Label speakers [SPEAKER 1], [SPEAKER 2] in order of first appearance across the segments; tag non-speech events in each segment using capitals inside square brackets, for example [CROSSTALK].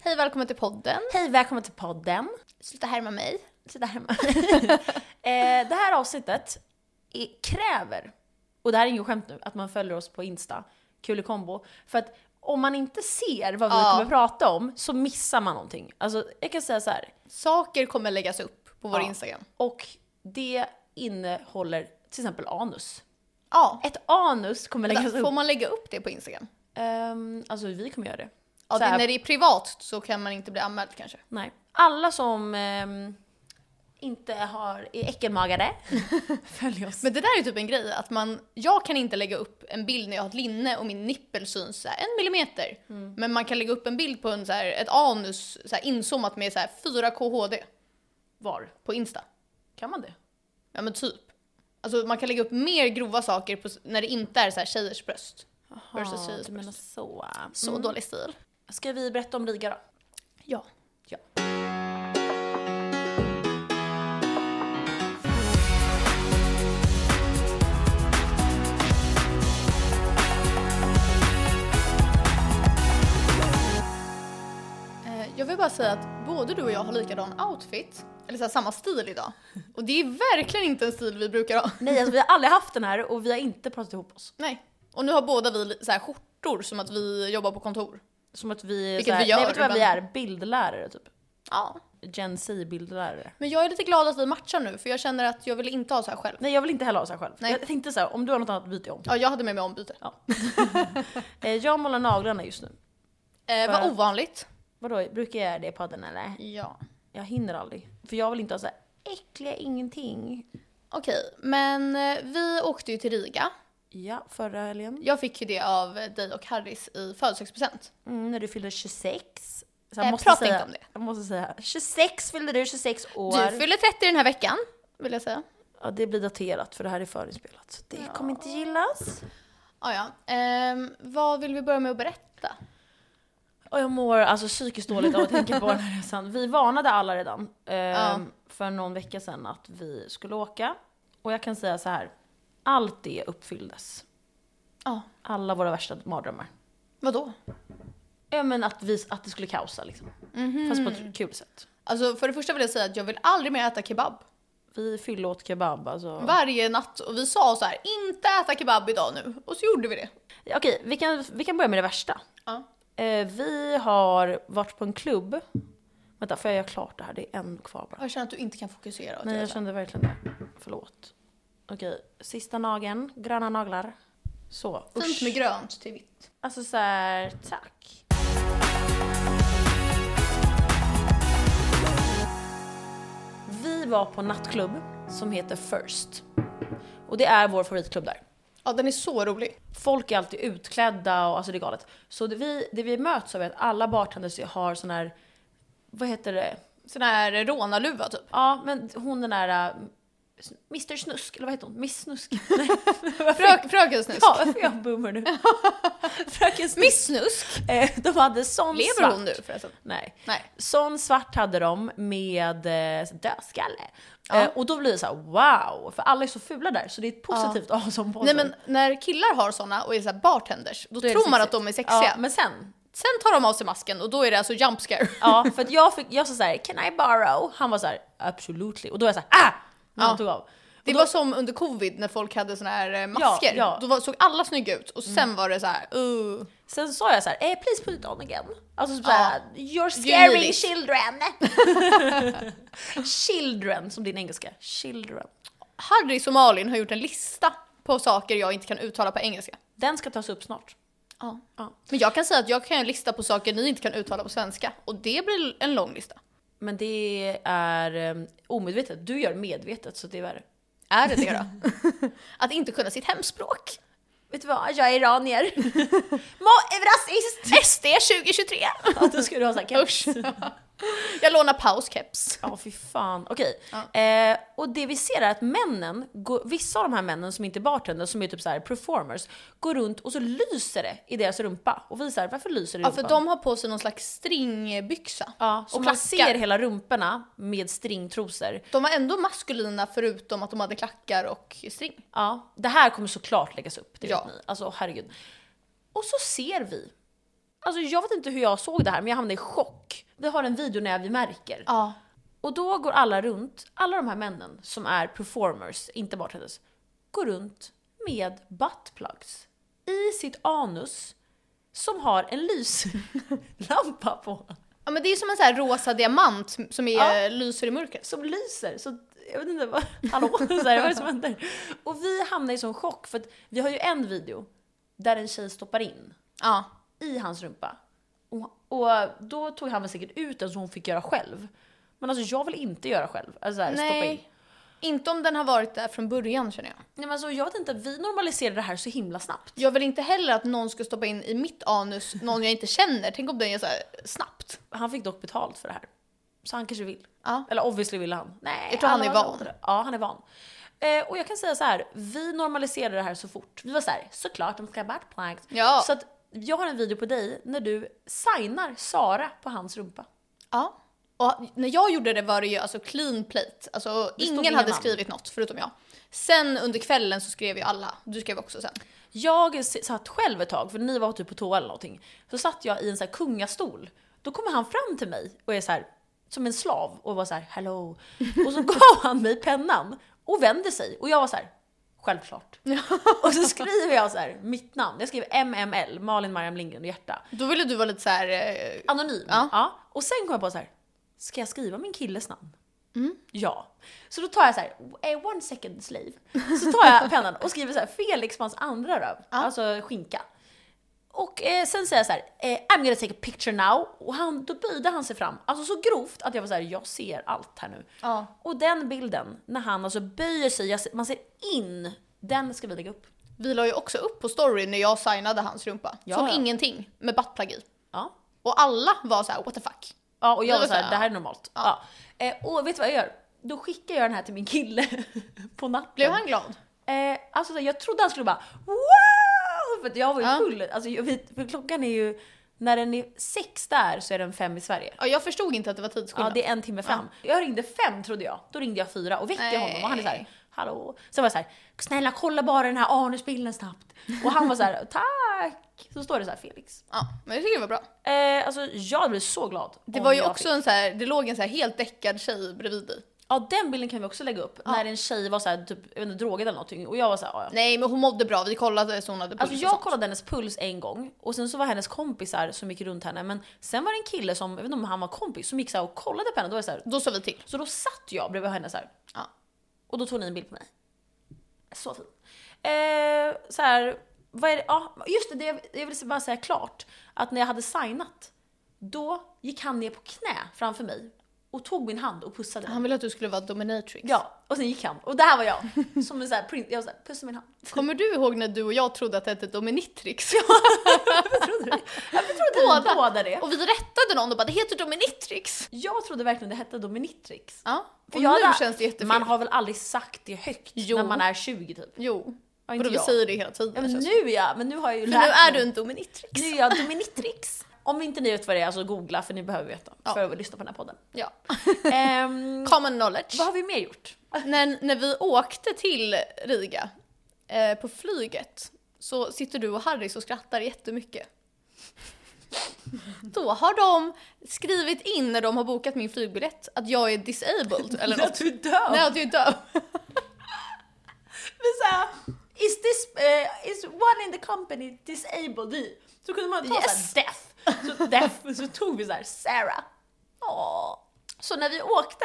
[SPEAKER 1] Hej, välkommen till podden.
[SPEAKER 2] Hej, välkommen till podden.
[SPEAKER 1] Sluta härma mig. [LAUGHS]
[SPEAKER 2] Sluta härma. eh, det här avsnittet är, kräver, och det här är inget skämt nu, att man följer oss på Insta, Kulekombo. För att om man inte ser vad vi
[SPEAKER 1] Ja.
[SPEAKER 2] kommer prata om så missar man någonting. Alltså jag kan säga så här,
[SPEAKER 1] Saker kommer läggas upp på vår
[SPEAKER 2] Ja.
[SPEAKER 1] Instagram.
[SPEAKER 2] och det innehåller till exempel anus.
[SPEAKER 1] Ja.
[SPEAKER 2] Ett anus kommer läggas upp.
[SPEAKER 1] Får man lägga upp det på Instagram?
[SPEAKER 2] Ehm, alltså vi kommer göra det.
[SPEAKER 1] Ja,
[SPEAKER 2] Så
[SPEAKER 1] det,
[SPEAKER 2] här-
[SPEAKER 1] när det är privat så kan man inte bli anmäld kanske.
[SPEAKER 2] Nej. Alla som ehm, inte har, är äckelmagade,
[SPEAKER 1] [LAUGHS]
[SPEAKER 2] följ oss.
[SPEAKER 1] Men det där är typ en grej, att man, jag kan inte lägga upp en bild när jag har ett linne och min nippel syns så här en millimeter.
[SPEAKER 2] Mm.
[SPEAKER 1] Men man kan lägga upp en bild på en så här, ett anus så här inzoomat med så här 4K HD
[SPEAKER 2] Var?
[SPEAKER 1] på Insta.
[SPEAKER 2] Kan man det?
[SPEAKER 1] Ja men typ. Alltså man kan lägga upp mer grova saker på, s- när det inte är så här tjejers bröst. Versus
[SPEAKER 2] Jaha,
[SPEAKER 1] tjejers
[SPEAKER 2] du menar
[SPEAKER 1] bröst.
[SPEAKER 2] så. Mm.
[SPEAKER 1] Så dålig stil.
[SPEAKER 2] Ska vi berätta om Riga då?
[SPEAKER 1] Ja. Eh,
[SPEAKER 2] Ja.
[SPEAKER 1] Eh, Jag vill bara säga att både du och jag har likadan outfit, eller så här, samma stil idag. Och det är verkligen inte en stil vi brukar ha.
[SPEAKER 2] Nej, alltså, vi har aldrig haft den här och vi har inte pratat ihop oss.
[SPEAKER 1] Nej. Och nu har båda vi li- så här, skjortor som att vi jobbar på kontor.
[SPEAKER 2] Som att vi är
[SPEAKER 1] Vilket
[SPEAKER 2] såhär,
[SPEAKER 1] vi gör,
[SPEAKER 2] nej, vet du vad vi
[SPEAKER 1] men-
[SPEAKER 2] är? Bildlärare typ.
[SPEAKER 1] Ja.
[SPEAKER 2] Gen Z-bildlärare.
[SPEAKER 1] Men jag är lite glad att vi matchar nu för jag känner att jag vill inte ha så här själv.
[SPEAKER 2] Nej jag vill inte heller ha så här själv.
[SPEAKER 1] Nej.
[SPEAKER 2] Jag tänkte så här, om du har något annat byter jag om.
[SPEAKER 1] Ja, jag hade med mig ombyte.
[SPEAKER 2] Eh, jag målar naglarna just nu.
[SPEAKER 1] Eh,
[SPEAKER 2] För-
[SPEAKER 1] vad ovanligt.
[SPEAKER 2] Vadå, brukar jag göra det i podden eller?
[SPEAKER 1] Ja.
[SPEAKER 2] Jag hinner aldrig. För jag vill inte ha så här äckliga ingenting.
[SPEAKER 1] Okej, men eh, vi åkte ju till Riga.
[SPEAKER 2] Ja, förra helgen.
[SPEAKER 1] Jag fick ju det av dig och Harris i födelsedagspresent.
[SPEAKER 2] Mm, när du fyllde 26. Så
[SPEAKER 1] Eh,
[SPEAKER 2] jag måste
[SPEAKER 1] prata
[SPEAKER 2] säga,
[SPEAKER 1] inte om det.
[SPEAKER 2] Jag måste säga, 26 fyllde du, 26 år.
[SPEAKER 1] Du fyller 30 den här veckan, vill jag säga.
[SPEAKER 2] Ja, det blir daterat för det här är förinspelat. Så det kommer inte gillas.
[SPEAKER 1] Ah, ja. Ehm, vad vill vi börja med att berätta?
[SPEAKER 2] Och jag mår alltså psykiskt dåligt av att tänka på den här resan. Vi varnade alla redan ehm,
[SPEAKER 1] Ja.
[SPEAKER 2] för någon vecka sedan att vi skulle åka. Och jag kan säga så här, allt det uppfylldes.
[SPEAKER 1] Ja,
[SPEAKER 2] Alla våra värsta mardrömmar.
[SPEAKER 1] vadå?
[SPEAKER 2] Ja men att, vi, att det skulle kaosa liksom. Fast på ett kul sätt.
[SPEAKER 1] Alltså för det första vill jag säga att jag vill aldrig mer äta kebab.
[SPEAKER 2] Vi fyllde åt kebab alltså.
[SPEAKER 1] Varje natt. Och vi sa så här, inte äta kebab idag nu. Och så gjorde vi det.
[SPEAKER 2] Okej, vi kan, vi kan börja med det värsta.
[SPEAKER 1] Ja.
[SPEAKER 2] Eh, vi har varit på en klubb. Vänta, får jag göra klart det här? Det är en kvar bara.
[SPEAKER 1] Jag känner att du inte kan fokusera.
[SPEAKER 2] Nej, jag kände verkligen det. Förlåt. Okej, sista nageln. Gröna naglar. Så.
[SPEAKER 1] Fint med grönt till vitt.
[SPEAKER 2] Alltså så här, tack. Vi var på en nattklubb som heter First. Och det är vår favoritklubb där.
[SPEAKER 1] Ja, den är så rolig.
[SPEAKER 2] Folk är alltid utklädda och alltså det är galet. Så det vi, det vi möts av är att alla bartenders har sån här, vad heter det?
[SPEAKER 1] Sån här rånarluva typ.
[SPEAKER 2] Ja men hon den där, äh, Mr Snusk, eller vad heter hon? Miss Snusk? Nej,
[SPEAKER 1] Frö, fröken Snusk.
[SPEAKER 2] ja, varför är jag boomer nu? [LAUGHS] Fröken Snusk.
[SPEAKER 1] Miss Snusk.
[SPEAKER 2] Eh, De hade sån
[SPEAKER 1] Lever
[SPEAKER 2] svart.
[SPEAKER 1] hon nu förresten?
[SPEAKER 2] Nej.
[SPEAKER 1] Nej.
[SPEAKER 2] Sån svart hade de med eh, dödskalle.
[SPEAKER 1] Ja.
[SPEAKER 2] Eh, och då blir det så här: wow, för alla är så fula där så det är ett positivt att ha som på
[SPEAKER 1] Nej
[SPEAKER 2] sig.
[SPEAKER 1] men när killar har såna och är så här bartenders, då
[SPEAKER 2] Då är det
[SPEAKER 1] tror man
[SPEAKER 2] sexigt.
[SPEAKER 1] att de är sexiga.
[SPEAKER 2] Ja, men sen.
[SPEAKER 1] Sen tar de av sig masken och då är det alltså jump scare.
[SPEAKER 2] Ja, för att jag, fick, jag sa såhär, can I borrow? Han var såhär, absolutely. Och då var jag såhär, ah! När
[SPEAKER 1] Ja.
[SPEAKER 2] han tog av.
[SPEAKER 1] Det var som under covid när folk hade såna här eh, masker.
[SPEAKER 2] ja.
[SPEAKER 1] Då var, såg alla snygga ut och sen var det så här, uh.
[SPEAKER 2] Sen sa jag såhär, eh, please put it on again. Alltså
[SPEAKER 1] Ja.
[SPEAKER 2] såhär, you're
[SPEAKER 1] You need
[SPEAKER 2] scaring
[SPEAKER 1] it. [LAUGHS]
[SPEAKER 2] children. children, som din engelska. Children.
[SPEAKER 1] Harry och Malin har gjort en lista på saker jag inte kan uttala på engelska.
[SPEAKER 2] Den ska tas upp snart.
[SPEAKER 1] Ja.
[SPEAKER 2] Ja.
[SPEAKER 1] Men jag kan säga att jag kan göra en lista på saker ni inte kan uttala på svenska och det blir en lång lista.
[SPEAKER 2] Men det är um, omedvetet. Du gör medvetet så det är värre.
[SPEAKER 1] Är det det [LAUGHS] då? att inte kunna sitt hemspråk.
[SPEAKER 2] Vet du vad, jag är
[SPEAKER 1] [LAUGHS]
[SPEAKER 2] iranier.
[SPEAKER 1] Rasist! SD 2023!
[SPEAKER 2] ja, då ska du ha såhär keps.
[SPEAKER 1] Jag lånar pauskeps.
[SPEAKER 2] Ja fy fan. Okej. Eh, och det vi ser är att männen, går, vissa av de här männen som inte är bartenders, som är typ så här performers, går runt och så lyser det i deras rumpa. Och vi säger varför lyser det i
[SPEAKER 1] Ja,
[SPEAKER 2] rumpan?
[SPEAKER 1] för de har på sig någon slags stringbyxa.
[SPEAKER 2] ja, så
[SPEAKER 1] och
[SPEAKER 2] och man
[SPEAKER 1] klackar.
[SPEAKER 2] ser hela rumporna med stringtrosor.
[SPEAKER 1] De var ändå maskulina förutom att de hade klackar och string.
[SPEAKER 2] Ja, det här kommer såklart läggas upp, det
[SPEAKER 1] Ja.
[SPEAKER 2] vet ni. Alltså herregud. Och så ser vi. Alltså jag vet inte hur jag såg det här men jag hamnade i chock. Vi har en video när vi märker.
[SPEAKER 1] Ja.
[SPEAKER 2] Och då går alla runt, alla de här männen som är performers, inte bartenders, går runt med buttplugs i sitt anus som har en lyslampa på.
[SPEAKER 1] ja men det är ju som en så här rosa diamant som är,
[SPEAKER 2] Ja.
[SPEAKER 1] lyser i mörkret.
[SPEAKER 2] Som lyser. Så jag vet inte vad, [LAUGHS] hallå, så här, vad är det som händer? Och vi hamnar i sån chock för att vi har ju en video där en tjej stoppar in
[SPEAKER 1] Ja.
[SPEAKER 2] i hans rumpa. Och, och då tog han väl säkert ut den så hon fick göra själv. Men alltså jag vill inte göra själv. Alltså så här, stoppa in.
[SPEAKER 1] Nej. Inte om den har varit där från början känner jag.
[SPEAKER 2] Nej, men alltså, jag vet inte, vi normaliserade det här så himla snabbt.
[SPEAKER 1] Jag vill inte heller att någon ska stoppa in i mitt anus någon jag inte känner. Tänk om den gör så här snabbt.
[SPEAKER 2] Han fick dock betalt för det här. Så han kanske vill.
[SPEAKER 1] Ja.
[SPEAKER 2] Eller obviously ville han. Nej,
[SPEAKER 1] Jag tror han
[SPEAKER 2] alla
[SPEAKER 1] är
[SPEAKER 2] var
[SPEAKER 1] van.
[SPEAKER 2] emot det. Ja, han är van. Eh, och jag kan säga så här, vi normaliserade det här så fort. Vi var så här, såklart de ska ha butt plugs.
[SPEAKER 1] Ja.
[SPEAKER 2] Så att jag har en video på dig när du signar Sara på hans rumpa.
[SPEAKER 1] Ja. Och när jag gjorde det var det ju alltså clean plate. Alltså
[SPEAKER 2] stod
[SPEAKER 1] ingen
[SPEAKER 2] inga
[SPEAKER 1] hade
[SPEAKER 2] namn.
[SPEAKER 1] skrivit något förutom jag. Sen under kvällen så skrev ju alla. Du skrev också sen.
[SPEAKER 2] Jag s- satt själv ett tag, för ni var typ på toa eller någonting. Så satt jag i en så här kungastol. Då kommer han fram till mig och är så här som en slav och var så här hello. Och så [LAUGHS] gav han mig pennan och vände sig och jag var så här självklart. Och så skriver jag så här mitt namn. Jag skrev MML, Malin Mariam Lindgren och hjärta.
[SPEAKER 1] Då ville du vara lite så här. eh,
[SPEAKER 2] Anonym.
[SPEAKER 1] Ja.
[SPEAKER 2] Och sen kom jag på så här ska jag skriva min killes namn? Ja. Så då tar jag så här, eh, one second slave. Så tar jag pennan och skriver så här, Felix på hans andra röv, alltså skinka. Och eh, sen säger jag så här, eh, I'm gonna take a picture now. Och han, då böjde han sig fram, alltså så grovt att jag var så här, jag ser allt här nu.
[SPEAKER 1] Ja.
[SPEAKER 2] Och den bilden, när han alltså böjer sig, jag ser, man ser in, den ska vi lägga upp.
[SPEAKER 1] Vi la ju också upp på story när jag signade hans rumpa.
[SPEAKER 2] Ja,
[SPEAKER 1] som
[SPEAKER 2] ja.
[SPEAKER 1] ingenting. Med buttplug i.
[SPEAKER 2] Ja.
[SPEAKER 1] Och alla var så här what the fuck.
[SPEAKER 2] Ja och jag
[SPEAKER 1] Det var
[SPEAKER 2] var såhär,
[SPEAKER 1] så här,
[SPEAKER 2] det här
[SPEAKER 1] ja.
[SPEAKER 2] är normalt. Ja. Eh, och vet du vad jag gör? Då skickar jag den här till min kille [LAUGHS] på natten.
[SPEAKER 1] Blev han glad?
[SPEAKER 2] Eh, alltså så här, jag trodde han skulle bara wow! För att jag var ju
[SPEAKER 1] Ja.
[SPEAKER 2] full. Alltså, jag vet, för klockan är ju, när den är sex där så är den fem i Sverige.
[SPEAKER 1] Ja, jag förstod inte att det var
[SPEAKER 2] Ja
[SPEAKER 1] tidsskillnad.
[SPEAKER 2] det är en timme fram. Jag ringde fem trodde jag, då ringde jag fyra och väckte
[SPEAKER 1] Nej.
[SPEAKER 2] honom och han är såhär hallå. Sen var jag såhär snälla kolla bara den här anusbilden snabbt. Och han var såhär tack! Så står det såhär Felix.
[SPEAKER 1] Ja, men jag tycker det var bra.
[SPEAKER 2] Eh, alltså jag blev så glad.
[SPEAKER 1] Det
[SPEAKER 2] om
[SPEAKER 1] var ju
[SPEAKER 2] jag
[SPEAKER 1] också en så här, det låg en så här helt däckad tjej bredvid dig.
[SPEAKER 2] Ja den bilden kan vi också lägga upp. När en tjej var såhär, typ, jag vet inte, drogad eller någonting och jag var såhär, ja, ja.
[SPEAKER 1] Nej men hon mådde bra, vi kollade så hon hade puls
[SPEAKER 2] Alltså
[SPEAKER 1] och
[SPEAKER 2] jag
[SPEAKER 1] sånt.
[SPEAKER 2] kollade hennes puls en gång och sen så var hennes kompisar som gick runt henne men sen var det en kille som, jag vet inte om han var kompis, som gick så här och kollade på henne. Då var det så, här,
[SPEAKER 1] Då sa vi till.
[SPEAKER 2] så då satt jag bredvid henne så här.
[SPEAKER 1] Ja.
[SPEAKER 2] och då tog ni en bild på mig. Så fin. Eh, så här, vad är det? Ja, just det, det, jag- jag vill bara säga klart att när jag hade signat då gick han ner på knä framför mig och tog min hand och pussade mig.
[SPEAKER 1] Han ville att du skulle vara dominatrix.
[SPEAKER 2] Ja, och sen gick han. Och där var jag. Som en sån här print, jag var såhär, puss i min hand.
[SPEAKER 1] Kommer du ihåg när du och jag trodde att det hette dominitrix?
[SPEAKER 2] Varför trodde du? Varför trodde båda.
[SPEAKER 1] Båda.
[SPEAKER 2] båda det?
[SPEAKER 1] Och vi rättade någon och bara det heter dominitrix.
[SPEAKER 2] Jag trodde verkligen det hette Dominitrix.
[SPEAKER 1] Ja.
[SPEAKER 2] För
[SPEAKER 1] och
[SPEAKER 2] jag
[SPEAKER 1] nu
[SPEAKER 2] hade-
[SPEAKER 1] känns det jättefel.
[SPEAKER 2] Man har väl aldrig sagt det högt
[SPEAKER 1] Jo.
[SPEAKER 2] när man är 20 typ?
[SPEAKER 1] Jo.
[SPEAKER 2] Ja,
[SPEAKER 1] Vadå
[SPEAKER 2] inte
[SPEAKER 1] vi
[SPEAKER 2] jag.
[SPEAKER 1] säger det hela
[SPEAKER 2] Ja,
[SPEAKER 1] tiden.
[SPEAKER 2] men
[SPEAKER 1] känns
[SPEAKER 2] nu
[SPEAKER 1] det.
[SPEAKER 2] är jag, men nu har jag ju
[SPEAKER 1] men
[SPEAKER 2] lärt
[SPEAKER 1] nu är
[SPEAKER 2] mig.
[SPEAKER 1] du en dominitrix.
[SPEAKER 2] Nu är jag Dominitrix. Om inte ni vet vad det är så googla för ni behöver veta
[SPEAKER 1] Ja.
[SPEAKER 2] för att lyssna på den här podden.
[SPEAKER 1] Ja.
[SPEAKER 2] Ehm,
[SPEAKER 1] Common knowledge.
[SPEAKER 2] vad har vi mer gjort?
[SPEAKER 1] när, när vi åkte till Riga eh, på flyget så sitter du och Harris och skrattar jättemycket. Då har de skrivit in när de har bokat min flygbiljett att jag är disabled eller något.
[SPEAKER 2] Att du är döv.
[SPEAKER 1] Nej, att jag är döv.
[SPEAKER 2] Men såhär, is this, eh, is one in the company disabled? Vi. Så kunde man ta
[SPEAKER 1] Yes.
[SPEAKER 2] såhär deaf. Så deaf, så tog vi såhär Sarah. Åh. Så när vi åkte,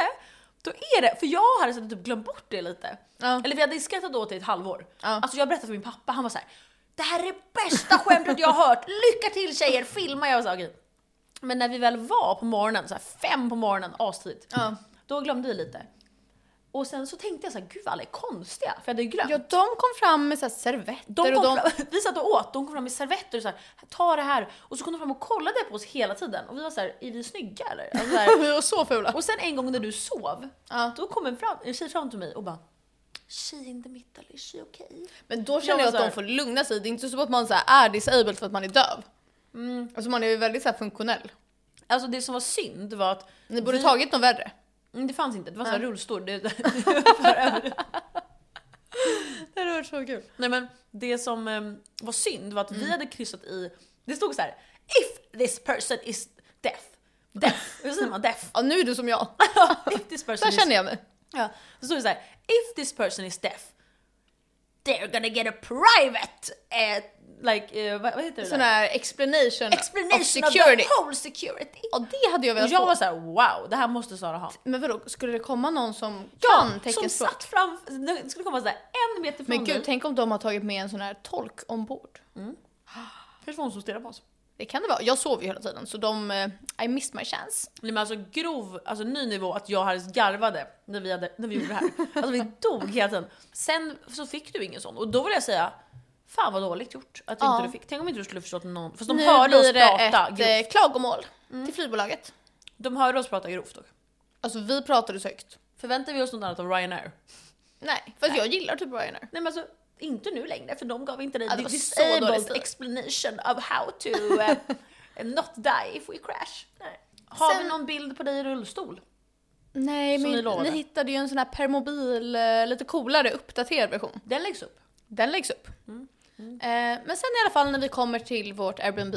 [SPEAKER 2] då är det, för jag hade så här typ glömt bort det lite.
[SPEAKER 1] Ja.
[SPEAKER 2] Eller vi hade skrattat åt det i ett halvår.
[SPEAKER 1] Ja.
[SPEAKER 2] Alltså jag berättade för min pappa, han var så här: det här är det bästa skämtet jag har hört, lycka till tjejer, filma! Jag sa okej. Men när vi väl var på morgonen, så här fem på morgonen, astidigt.
[SPEAKER 1] Ja.
[SPEAKER 2] Då glömde vi lite. Och sen så tänkte jag så här, gud vad alla är konstiga, för jag hade ju glömt.
[SPEAKER 1] Ja, de kom fram med så här servetter
[SPEAKER 2] De
[SPEAKER 1] och
[SPEAKER 2] kom
[SPEAKER 1] de...
[SPEAKER 2] fram, [LAUGHS] vi satt och åt, de kom fram med servetter och så här, ta det här. Och så kom de fram och kollade på oss hela tiden och vi var så här, är vi snygga eller? Alltså
[SPEAKER 1] [LAUGHS]
[SPEAKER 2] så här.
[SPEAKER 1] Vi var så fula.
[SPEAKER 2] Och sen en gång när du sov,
[SPEAKER 1] Ja.
[SPEAKER 2] då kom en, fram, en tjej fram till mig och bara She in the middle, is she okay?
[SPEAKER 1] Men då känner
[SPEAKER 2] Jag
[SPEAKER 1] jag
[SPEAKER 2] var
[SPEAKER 1] att
[SPEAKER 2] så här-
[SPEAKER 1] de får lugna sig. Det är inte så att man så här är disabled för att man är döv.
[SPEAKER 2] Mm.
[SPEAKER 1] Alltså man är ju väldigt så här funktionell.
[SPEAKER 2] Alltså det som var synd var att
[SPEAKER 1] Ni borde
[SPEAKER 2] vi-
[SPEAKER 1] tagit något värre.
[SPEAKER 2] Mm, Det fanns inte, det var så här rullstol. Det,
[SPEAKER 1] [LAUGHS] Det hade varit så kul.
[SPEAKER 2] [LAUGHS] nej men det som eh, var
[SPEAKER 1] Mm.
[SPEAKER 2] synd var att vi hade kryssat i, det stod så här If this person is deaf Deaf. Hur säger man deaf?
[SPEAKER 1] Ja, nu är du som
[SPEAKER 2] [LAUGHS]
[SPEAKER 1] jag.
[SPEAKER 2] If this person
[SPEAKER 1] Där
[SPEAKER 2] is...
[SPEAKER 1] känner jag mig.
[SPEAKER 2] Ja. Så står det så här. If this person is deaf, they're gonna get a private... eh, like, eh, vad, vad heter det
[SPEAKER 1] Sån
[SPEAKER 2] där?
[SPEAKER 1] här explanation, of
[SPEAKER 2] Explanation of,
[SPEAKER 1] security.
[SPEAKER 2] the whole security.
[SPEAKER 1] Ja, det hade jag
[SPEAKER 2] Och
[SPEAKER 1] velat
[SPEAKER 2] jag
[SPEAKER 1] få.
[SPEAKER 2] var så här: wow, det här måste Sara ha.
[SPEAKER 1] Men vadå, skulle det komma någon som kan
[SPEAKER 2] som
[SPEAKER 1] teckenspråk?
[SPEAKER 2] satt fram, det skulle komma såhär en meter från
[SPEAKER 1] Men gud,
[SPEAKER 2] dig.
[SPEAKER 1] tänk om de har tagit med en sån här tolk ombord.
[SPEAKER 2] Person som stirrar på oss.
[SPEAKER 1] Det kan det vara. Jag sov ju hela tiden så de, eh, I missed my chance.
[SPEAKER 2] Nej men alltså grov, alltså ny nivå att jag hade garvade när vi, hade, när vi gjorde
[SPEAKER 1] [LAUGHS]
[SPEAKER 2] det här. Alltså vi dog hela tiden. Sen så fick du ingen sån och då vill jag säga, fan vad dåligt gjort att
[SPEAKER 1] Ja.
[SPEAKER 2] inte du fick. Tänk om inte du skulle förstått någon, fast de
[SPEAKER 1] nu
[SPEAKER 2] hörde oss
[SPEAKER 1] blir det
[SPEAKER 2] prata Mm.
[SPEAKER 1] ett
[SPEAKER 2] grovt.
[SPEAKER 1] eh, klagomål till flygbolaget.
[SPEAKER 2] De hörde oss prata grovt dock.
[SPEAKER 1] Alltså vi pratade så högt.
[SPEAKER 2] Förväntar vi oss något annat av Ryanair?
[SPEAKER 1] Nej, för att jag gillar typ Ryanair.
[SPEAKER 2] Nej men alltså inte nu längre för de gav inte dig
[SPEAKER 1] Ja, det
[SPEAKER 2] the
[SPEAKER 1] var så dålig
[SPEAKER 2] disabled
[SPEAKER 1] stil.
[SPEAKER 2] explanation of how to [LAUGHS] eh, not die if we crash. Nej. Har
[SPEAKER 1] Sen-
[SPEAKER 2] vi någon bild på dig i rullstol?
[SPEAKER 1] Nej,
[SPEAKER 2] Som ni
[SPEAKER 1] men ni,
[SPEAKER 2] lovade.
[SPEAKER 1] hittade ju en sån här permobil, eh, lite coolare uppdaterad version.
[SPEAKER 2] Den läggs upp.
[SPEAKER 1] Den läggs upp.
[SPEAKER 2] Mm.
[SPEAKER 1] Eh, men sen i alla fall när vi kommer till vårt Airbnb,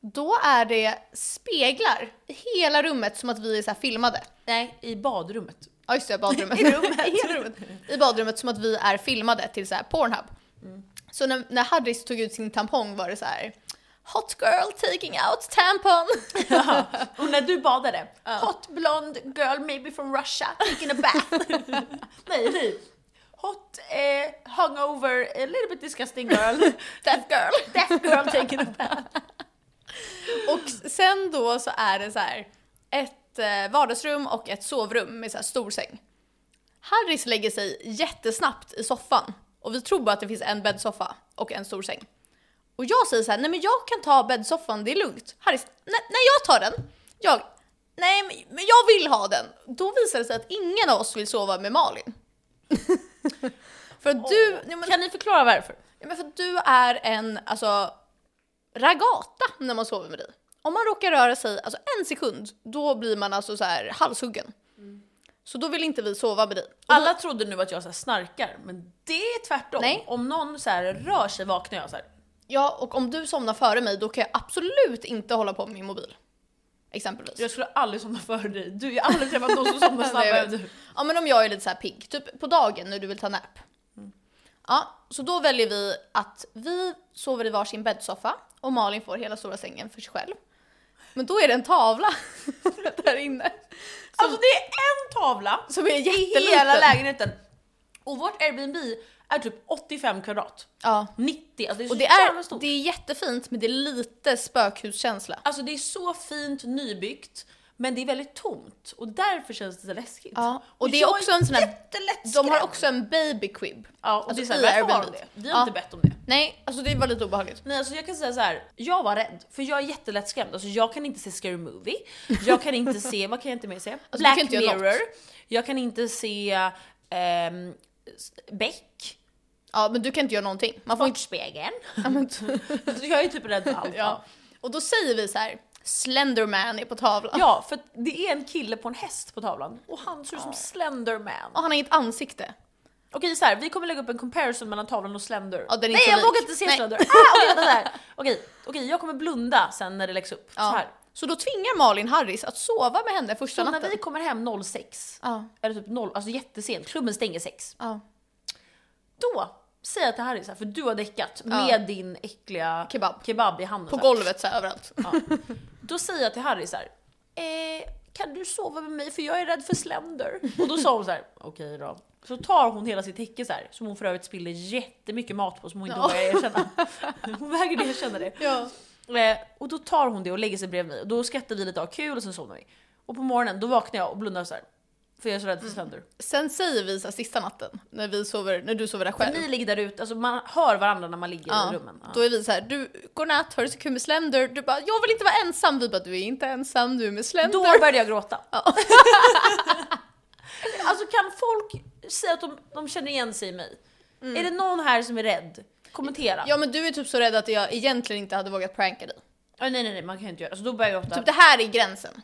[SPEAKER 1] då är det speglar i hela rummet som att vi är så här filmade.
[SPEAKER 2] Nej, i badrummet.
[SPEAKER 1] Ja just det, badrummet.
[SPEAKER 2] [LAUGHS] I
[SPEAKER 1] [LAUGHS]
[SPEAKER 2] rummet. [LAUGHS]
[SPEAKER 1] I, hela rummet. I badrummet som att vi är filmade till så här Pornhub. Så när, när Harris tog ut sin tampong var det så här Hot girl taking out tampon. [LAUGHS]
[SPEAKER 2] Ja. Och när du badade, hot blonde girl maybe from Russia taking a bath. [LAUGHS] nej, nej. Hot eh, hungover, a little bit disgusting girl,
[SPEAKER 1] Deaf girl.
[SPEAKER 2] [LAUGHS] deaf girl taking a bath.
[SPEAKER 1] Och sen då så är det så här ett eh, vardagsrum och ett sovrum med så här stor säng. Harris lägger sig jättesnabbt i soffan och vi tror bara att det finns en bäddsoffa och en stor säng. Och jag säger så här, nej men jag kan ta bäddsoffan, det är lugnt. Harris, nej, nej jag tar den. Jag, nej men- men jag vill ha den. Då visar det sig att ingen av oss vill sova med Malin. [LAUGHS] för att du, nej, men,
[SPEAKER 2] Kan ni förklara varför?
[SPEAKER 1] Ja, men för att du är en alltså, ragata när man sover med dig. Om man råkar röra sig alltså, en sekund, då blir man alltså så här halshuggen. Så då vill inte vi sova med dig. Och
[SPEAKER 2] Alla trodde nu att jag så här snarkar, men det är tvärtom.
[SPEAKER 1] Nej.
[SPEAKER 2] Om någon så här rör sig vaknar jag så här.
[SPEAKER 1] Ja, och om du somnar före mig, då kan jag absolut inte hålla på med min mobil. Exempelvis.
[SPEAKER 2] Jag skulle aldrig somna före dig, du jag har aldrig träffat någon som somnar snabbare
[SPEAKER 1] [LAUGHS] Nej, jag
[SPEAKER 2] än
[SPEAKER 1] vet.
[SPEAKER 2] du.
[SPEAKER 1] Ja, men om jag är lite så här pigg, typ på dagen när du vill ta nap. Ja, så då väljer vi att vi sover i varsin bäddsoffa och Malin får hela stora sängen för sig själv. Men då är det en tavla [LAUGHS] där inne.
[SPEAKER 2] Alltså det är en tavla
[SPEAKER 1] Som är jätteliten.
[SPEAKER 2] i hela lägenheten. Och vårt Airbnb är typ 85 kvadrat.
[SPEAKER 1] Ja.
[SPEAKER 2] 90, alltså det är så
[SPEAKER 1] Och det
[SPEAKER 2] jävla
[SPEAKER 1] är,
[SPEAKER 2] stort.
[SPEAKER 1] det är jättefint men det är lite spökhuskänsla.
[SPEAKER 2] Alltså det är så fint nybyggt, men det är väldigt tomt och därför känns det så läskigt.
[SPEAKER 1] Ja, och det är
[SPEAKER 2] jag
[SPEAKER 1] också en sån här-
[SPEAKER 2] jättelättskrämd.
[SPEAKER 1] De har också en baby crib.
[SPEAKER 2] Ja, och
[SPEAKER 1] alltså,
[SPEAKER 2] det är
[SPEAKER 1] i
[SPEAKER 2] så här, varför har de
[SPEAKER 1] Airbnb.
[SPEAKER 2] det? Vi har
[SPEAKER 1] Ja.
[SPEAKER 2] inte bett om det.
[SPEAKER 1] Nej, alltså det var lite obehagligt.
[SPEAKER 2] Nej alltså jag kan säga så här. jag var rädd för jag är jättelättskrämd. Alltså jag kan inte se Scary Movie, jag kan inte se, vad kan jag inte mer se?
[SPEAKER 1] Alltså, du
[SPEAKER 2] Black
[SPEAKER 1] kan inte göra
[SPEAKER 2] Mirror,
[SPEAKER 1] något.
[SPEAKER 2] jag kan inte se ehm, Beck,
[SPEAKER 1] Ja, men du kan inte göra någonting. Man får inte...
[SPEAKER 2] Sportspegeln.
[SPEAKER 1] Ja, men-
[SPEAKER 2] Alltså, jag är typ rädd för allt.
[SPEAKER 1] ja. [LAUGHS] Och då säger vi så här, Slenderman är på tavlan.
[SPEAKER 2] Ja, för att det är en kille på en häst på tavlan och han ser ut som Slenderman.
[SPEAKER 1] Och han har inget ansikte.
[SPEAKER 2] Okej så här, vi kommer lägga upp en comparison mellan tavlan och Slender.
[SPEAKER 1] Ja, den är
[SPEAKER 2] Nej
[SPEAKER 1] inte
[SPEAKER 2] jag
[SPEAKER 1] lik.
[SPEAKER 2] vågar inte se
[SPEAKER 1] Nej.
[SPEAKER 2] Slender! Ah, okej, vänta,
[SPEAKER 1] [LAUGHS]
[SPEAKER 2] så här. okej, okej jag kommer blunda sen när det läggs upp. Så
[SPEAKER 1] Ja.
[SPEAKER 2] här.
[SPEAKER 1] Så då tvingar Malin Harris att sova med henne första
[SPEAKER 2] Så när
[SPEAKER 1] natten.
[SPEAKER 2] vi kommer hem 06,
[SPEAKER 1] Ja,
[SPEAKER 2] eller typ 0, alltså jättesent, klubben stänger 6.
[SPEAKER 1] ja.
[SPEAKER 2] Då säger jag till Harry så här, för du har däckat
[SPEAKER 1] Ja.
[SPEAKER 2] med din äckliga
[SPEAKER 1] Kebab.
[SPEAKER 2] kebab i handen.
[SPEAKER 1] På
[SPEAKER 2] så här.
[SPEAKER 1] golvet så här, överallt.
[SPEAKER 2] Då säger jag till Harry så här, eh, kan du sova med mig för jag är rädd för Slender? Och då sa hon så här, [LAUGHS] okej då. Så tar hon hela sitt täcke så här, som hon för övrigt spiller jättemycket mat på som hon inte
[SPEAKER 1] Ja.
[SPEAKER 2] vågar erkänna. [LAUGHS] Hon vägrade erkänna det.
[SPEAKER 1] Ja.
[SPEAKER 2] Eh, och då tar hon det och lägger sig bredvid mig och då skrattar vi lite av kul och sen somnar vi. Och på morgonen då vaknar jag och blundar så här. För jag är så rädd för
[SPEAKER 1] Mm.
[SPEAKER 2] Slender.
[SPEAKER 1] Sen säger vi så här, sista natten, när, vi sover, när du sover där själv.
[SPEAKER 2] Ni ligger där ute, alltså man hör varandra när man ligger
[SPEAKER 1] Ja,
[SPEAKER 2] i rummen. Ja.
[SPEAKER 1] Då är vi så här, du, godnatt, har du så kul med Slender? Du bara, jag vill inte vara ensam. Vi bara, du är inte ensam, du är med Slender.
[SPEAKER 2] Då började jag gråta. [LAUGHS] alltså kan folk säga att de, de känner igen sig i mig? Är det någon här som är rädd? Kommentera.
[SPEAKER 1] Mm. Ja men du är typ så rädd att jag egentligen inte hade vågat pranka dig.
[SPEAKER 2] Ah, nej nej nej man kan ju inte göra alltså, då börjar jag gråta.
[SPEAKER 1] Typ det här är gränsen.